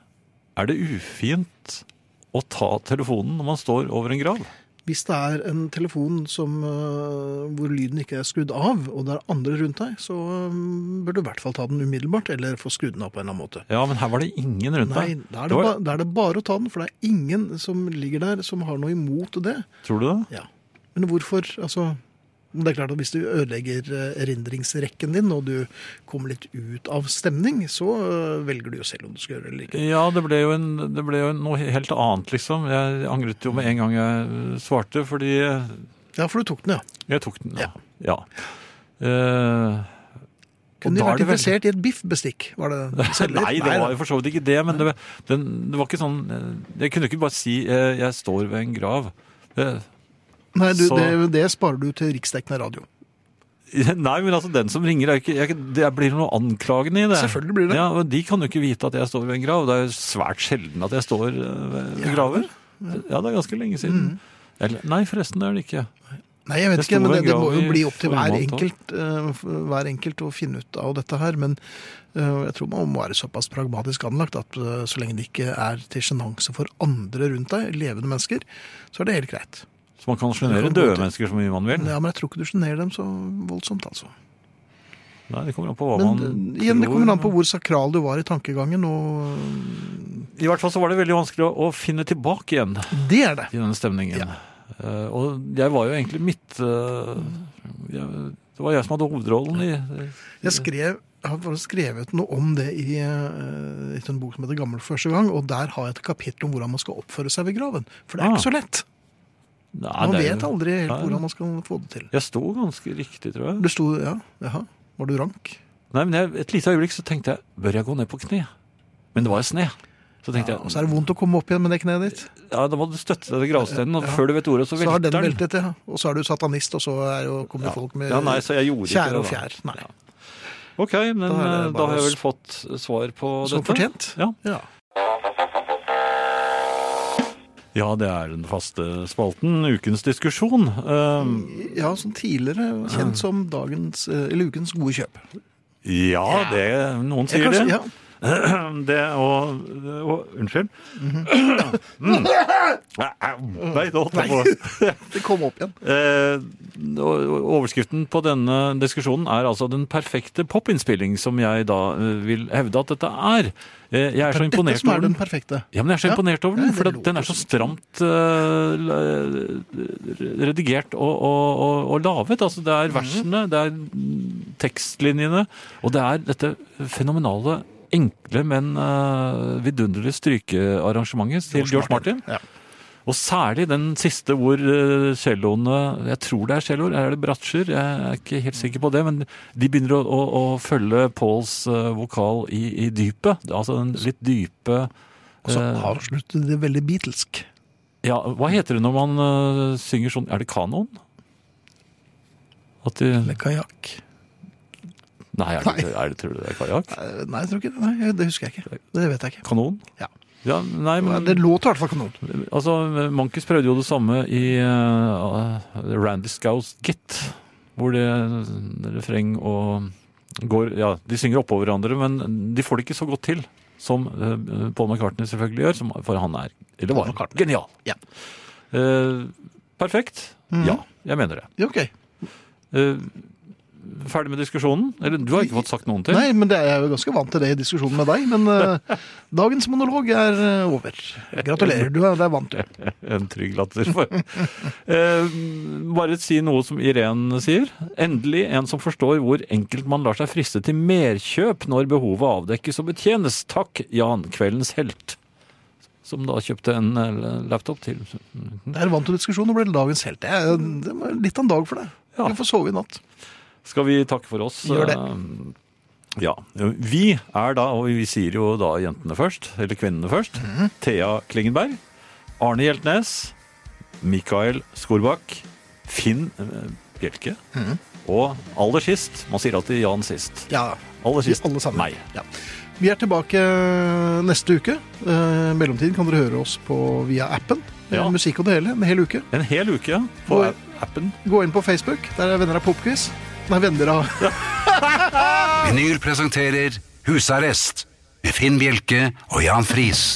[SPEAKER 3] er det ufint å ta telefonen når man står over en grav?
[SPEAKER 2] Hvis det er en telefon som, eh, hvor lyden ikke er skrudd av, og det er andre rundt deg, så eh, bør du i hvert fall ta den umiddelbart, eller få skrudd den av på en eller annen måte.
[SPEAKER 3] Ja, men her var det ingen rundt
[SPEAKER 2] Nei,
[SPEAKER 3] deg.
[SPEAKER 2] da er,
[SPEAKER 3] Det
[SPEAKER 2] det
[SPEAKER 3] var-
[SPEAKER 2] ba, da er det bare å ta den, for det er ingen som ligger der som har noe imot det.
[SPEAKER 3] Tror du det?
[SPEAKER 2] Ja. Men hvorfor, altså... men Det er klart at Hvis du ødelegger eh, erindringsrekken din og du kommer litt ut av stemning, så eh, velger du jo selv om du skal gjøre det eller ikke.
[SPEAKER 3] Ja, det ble jo, en, det ble jo noe helt annet, liksom. Jeg angret jo med en gang jeg øh, svarte, fordi
[SPEAKER 2] Ja, for du tok den, ja.
[SPEAKER 3] jeg tok den.
[SPEAKER 2] Ja.
[SPEAKER 3] ja. Eh, og
[SPEAKER 2] Kunne de
[SPEAKER 3] da
[SPEAKER 2] vært
[SPEAKER 3] er det veldig-
[SPEAKER 2] interessert i et biffbestikk? Var det den selger?
[SPEAKER 3] Nei, det var jo for så vidt ikke det, men det, den, det var ikke sånn eh, Jeg kunne ikke bare si eh, 'jeg står ved en grav'. Eh,
[SPEAKER 2] Nei, du,
[SPEAKER 3] Så-
[SPEAKER 2] det, det sparer du til riksdekkende radio.
[SPEAKER 3] Nei, men altså, den som ringer, er jo ikke, jeg, det blir noe anklagende i det.
[SPEAKER 2] Selvfølgelig blir det.
[SPEAKER 3] Ja, og De kan jo ikke vite at jeg står ved en grav. Det er jo svært sjelden at jeg står eh,
[SPEAKER 2] Ja.
[SPEAKER 3] ved
[SPEAKER 2] Mm.
[SPEAKER 3] graver. Ja, det er ganske lenge siden. Eller, nei, forresten, det er det ikke.
[SPEAKER 2] Nei, jeg vet
[SPEAKER 3] Det
[SPEAKER 2] ikke,
[SPEAKER 3] sto
[SPEAKER 2] men det,
[SPEAKER 3] en
[SPEAKER 2] det
[SPEAKER 3] grav
[SPEAKER 2] må jo
[SPEAKER 3] i
[SPEAKER 2] bli opp til hver
[SPEAKER 3] formann, da.
[SPEAKER 2] enkelt, eh, f- hver enkelt å finne ut av dette her. Men eh, jeg tror man må være såpass pragmatisk anlagt at eh, så lenge det ikke er til sjenanse for andre rundt deg, levende mennesker, så er det helt greit.
[SPEAKER 3] Så man kan sjenere
[SPEAKER 2] Det kan
[SPEAKER 3] døde
[SPEAKER 2] godt-
[SPEAKER 3] mennesker så mye man vil.
[SPEAKER 2] Ja, Men jeg tror ikke du sjenerer dem så voldsomt, altså.
[SPEAKER 3] Nei, det kommer an på hva
[SPEAKER 2] Men
[SPEAKER 3] man
[SPEAKER 2] eh, igjen, det
[SPEAKER 3] tror.
[SPEAKER 2] kommer an på hvor sakral du var i tankegangen, og eh,
[SPEAKER 3] I hvert fall så var det veldig vanskelig å, å finne tilbake igjen i
[SPEAKER 2] det er det.
[SPEAKER 3] denne stemningen. Eh, og jeg var jo egentlig midt eh, jeg, Det var jeg som hadde hovedrollen i
[SPEAKER 2] Jeg skrev jeg har faktisk skrevet noe om det i, eh, i en bok som heter 'Gammel for første gang', og der har jeg et kapittel om hvordan man skal oppføre seg ved graven. For det er
[SPEAKER 3] Ah.
[SPEAKER 2] ikke så lett.
[SPEAKER 3] Nei,
[SPEAKER 2] Man
[SPEAKER 3] det er
[SPEAKER 2] vet
[SPEAKER 3] jo-
[SPEAKER 2] aldri
[SPEAKER 3] Ja,
[SPEAKER 2] helt
[SPEAKER 3] ja.
[SPEAKER 2] hvordan man skal få det til.
[SPEAKER 3] Jeg sto ganske riktig, tror jeg.
[SPEAKER 2] Det sto ja, jaha, var du rank?
[SPEAKER 3] Nei, men jeg, Et lite øyeblikk så tenkte jeg bør jeg gå ned på kne? Men det var jo sne. Så tenkte
[SPEAKER 2] Ja, og så
[SPEAKER 3] jeg
[SPEAKER 2] er det vondt å komme opp igjen med det kneet ditt.
[SPEAKER 3] ja, da må du støtte deg til gravsteinen, og før du vet ordet, så
[SPEAKER 2] Så har
[SPEAKER 3] velter
[SPEAKER 2] den
[SPEAKER 3] den.
[SPEAKER 2] veltet, ja. Og så er du satanist, og så er jo, kommer det
[SPEAKER 3] Ja.
[SPEAKER 2] folk med
[SPEAKER 3] Ja, nei, så jeg gjorde ikke
[SPEAKER 2] kjære og
[SPEAKER 3] det, da.
[SPEAKER 2] fjær. Nei.
[SPEAKER 3] Ok, men
[SPEAKER 2] Da er det
[SPEAKER 3] eh, da
[SPEAKER 2] bare
[SPEAKER 3] har jeg
[SPEAKER 2] å
[SPEAKER 3] vel fått eh, svar på
[SPEAKER 2] Som
[SPEAKER 3] dette.
[SPEAKER 2] fortjent.
[SPEAKER 3] Ja.
[SPEAKER 2] Ja.
[SPEAKER 3] ja, det er den faste spalten. Ukens diskusjon. Eh,
[SPEAKER 2] ja, som tidligere
[SPEAKER 3] Ah.
[SPEAKER 2] kjent som dagens, eh, eller ukens gode kjøp.
[SPEAKER 3] ja, det
[SPEAKER 2] Ja,
[SPEAKER 3] Noen sier
[SPEAKER 2] kanskje-
[SPEAKER 3] det.
[SPEAKER 2] ja.
[SPEAKER 3] Det og, og Unnskyld.
[SPEAKER 2] Mhm.
[SPEAKER 3] mm. Nei, det holdt jeg på.
[SPEAKER 2] Det kom opp igjen.
[SPEAKER 3] Eh, og- og overskriften på denne diskusjonen er altså den perfekte popinnspilling, som jeg da eh, vil hevde at dette er. Eh, jeg er så
[SPEAKER 2] Dette
[SPEAKER 3] imponert
[SPEAKER 2] som
[SPEAKER 3] over
[SPEAKER 2] er den
[SPEAKER 3] den.
[SPEAKER 2] perfekte.
[SPEAKER 3] Ja, men jeg er så
[SPEAKER 2] Ja.
[SPEAKER 3] imponert over
[SPEAKER 2] Ja,
[SPEAKER 3] den,
[SPEAKER 2] det
[SPEAKER 3] for
[SPEAKER 2] låter
[SPEAKER 3] at den er så stramt eh, la- redigert og, og, og, og lavet. Altså, det
[SPEAKER 2] Mhm.
[SPEAKER 3] er versene, det er tekstlinjene, og det er dette fenomenale, enkle, men eh, vidunderlige strykearrangementet til George Martin.
[SPEAKER 2] Ja.
[SPEAKER 3] Og særlig den siste hvor eh, celloene Jeg tror det er celloer, er det bratsjer? Jeg er ikke helt sikker på det, men de begynner å, å, å følge Pauls eh, vokal i, i dypet. Altså den litt dype
[SPEAKER 2] Og så
[SPEAKER 3] eh,
[SPEAKER 2] avsluttet det veldig beatlesk.
[SPEAKER 3] Ja, hva heter det når man eh, synger sånn Er det kanon? At de
[SPEAKER 2] Eller kajakk.
[SPEAKER 3] Nei, er det, er det, tror du det er kajakk?
[SPEAKER 2] Eh, Nei, jeg tror ikke det. Nei, jeg- det husker jeg ikke. Det vet jeg ikke.
[SPEAKER 3] Kanon?
[SPEAKER 2] Ja.
[SPEAKER 3] Ja, nei, men
[SPEAKER 2] Det låter i hvert fall kanon.
[SPEAKER 3] Altså, Monkeys prøvde jo det samme i eh, Randy Scouse Git, hvor det eh, refreng og går Ja, de synger oppå hverandre, men de får det ikke så godt til som eh, Paul McCartney selvfølgelig gjør, som, for han er Eller
[SPEAKER 2] Paul
[SPEAKER 3] var
[SPEAKER 2] McCartney.
[SPEAKER 3] genial.
[SPEAKER 2] Ja. Mm.
[SPEAKER 3] Eh, perfekt? Mm. Ja, jeg mener det.
[SPEAKER 2] Ja, ok.
[SPEAKER 3] Eh, ferdig med diskusjonen? Eller du har ikke fått sagt noen ting?
[SPEAKER 2] Nei, men det er jeg jo ganske vant til det i diskusjonen med deg. Men eh, dagens monolog er eh, over. Gratulerer, du er, det er vant du.
[SPEAKER 3] En trygg latter. For. Eh, bare si noe som Irén sier. Endelig en som forstår hvor enkelt man lar seg friste til merkjøp når behovet avdekkes og betjenes. Takk, Jan, kveldens helt. Som da kjøpte en eh, laptop til.
[SPEAKER 2] Der vant du diskusjonen og ble dagens helt. Det er, det var litt av en dag for deg.
[SPEAKER 3] Ja.
[SPEAKER 2] Du får sove i natt.
[SPEAKER 3] Skal vi takke for oss?
[SPEAKER 2] Gjør det.
[SPEAKER 3] Eh, Ja. Vi er da, og vi sier jo da jentene først, eller kvinnene først,
[SPEAKER 2] Mhm.
[SPEAKER 3] Thea Klingenberg, Arne Hjeltnes, Mikael Skorbakk, Finn eh, Bjelke,
[SPEAKER 2] Mhm.
[SPEAKER 3] og aller sist, man sier alltid Jan sist,
[SPEAKER 2] Ja,
[SPEAKER 3] aller
[SPEAKER 2] vi
[SPEAKER 3] sist,
[SPEAKER 2] alle sammen.
[SPEAKER 3] meg.
[SPEAKER 2] Ja. Vi er tilbake neste uke. Eh, I mellomtiden kan dere høre oss på, via appen.
[SPEAKER 3] Ja.
[SPEAKER 2] Eh, Musikk og det hele, en hel uke.
[SPEAKER 3] En hel uke på
[SPEAKER 2] Oi.
[SPEAKER 3] appen.
[SPEAKER 2] Gå inn på Facebook, der er venner av Popquiz. Nei, venner av
[SPEAKER 1] Vinyl presenterer Husarrest med Finn Bjelke og Jan Friis.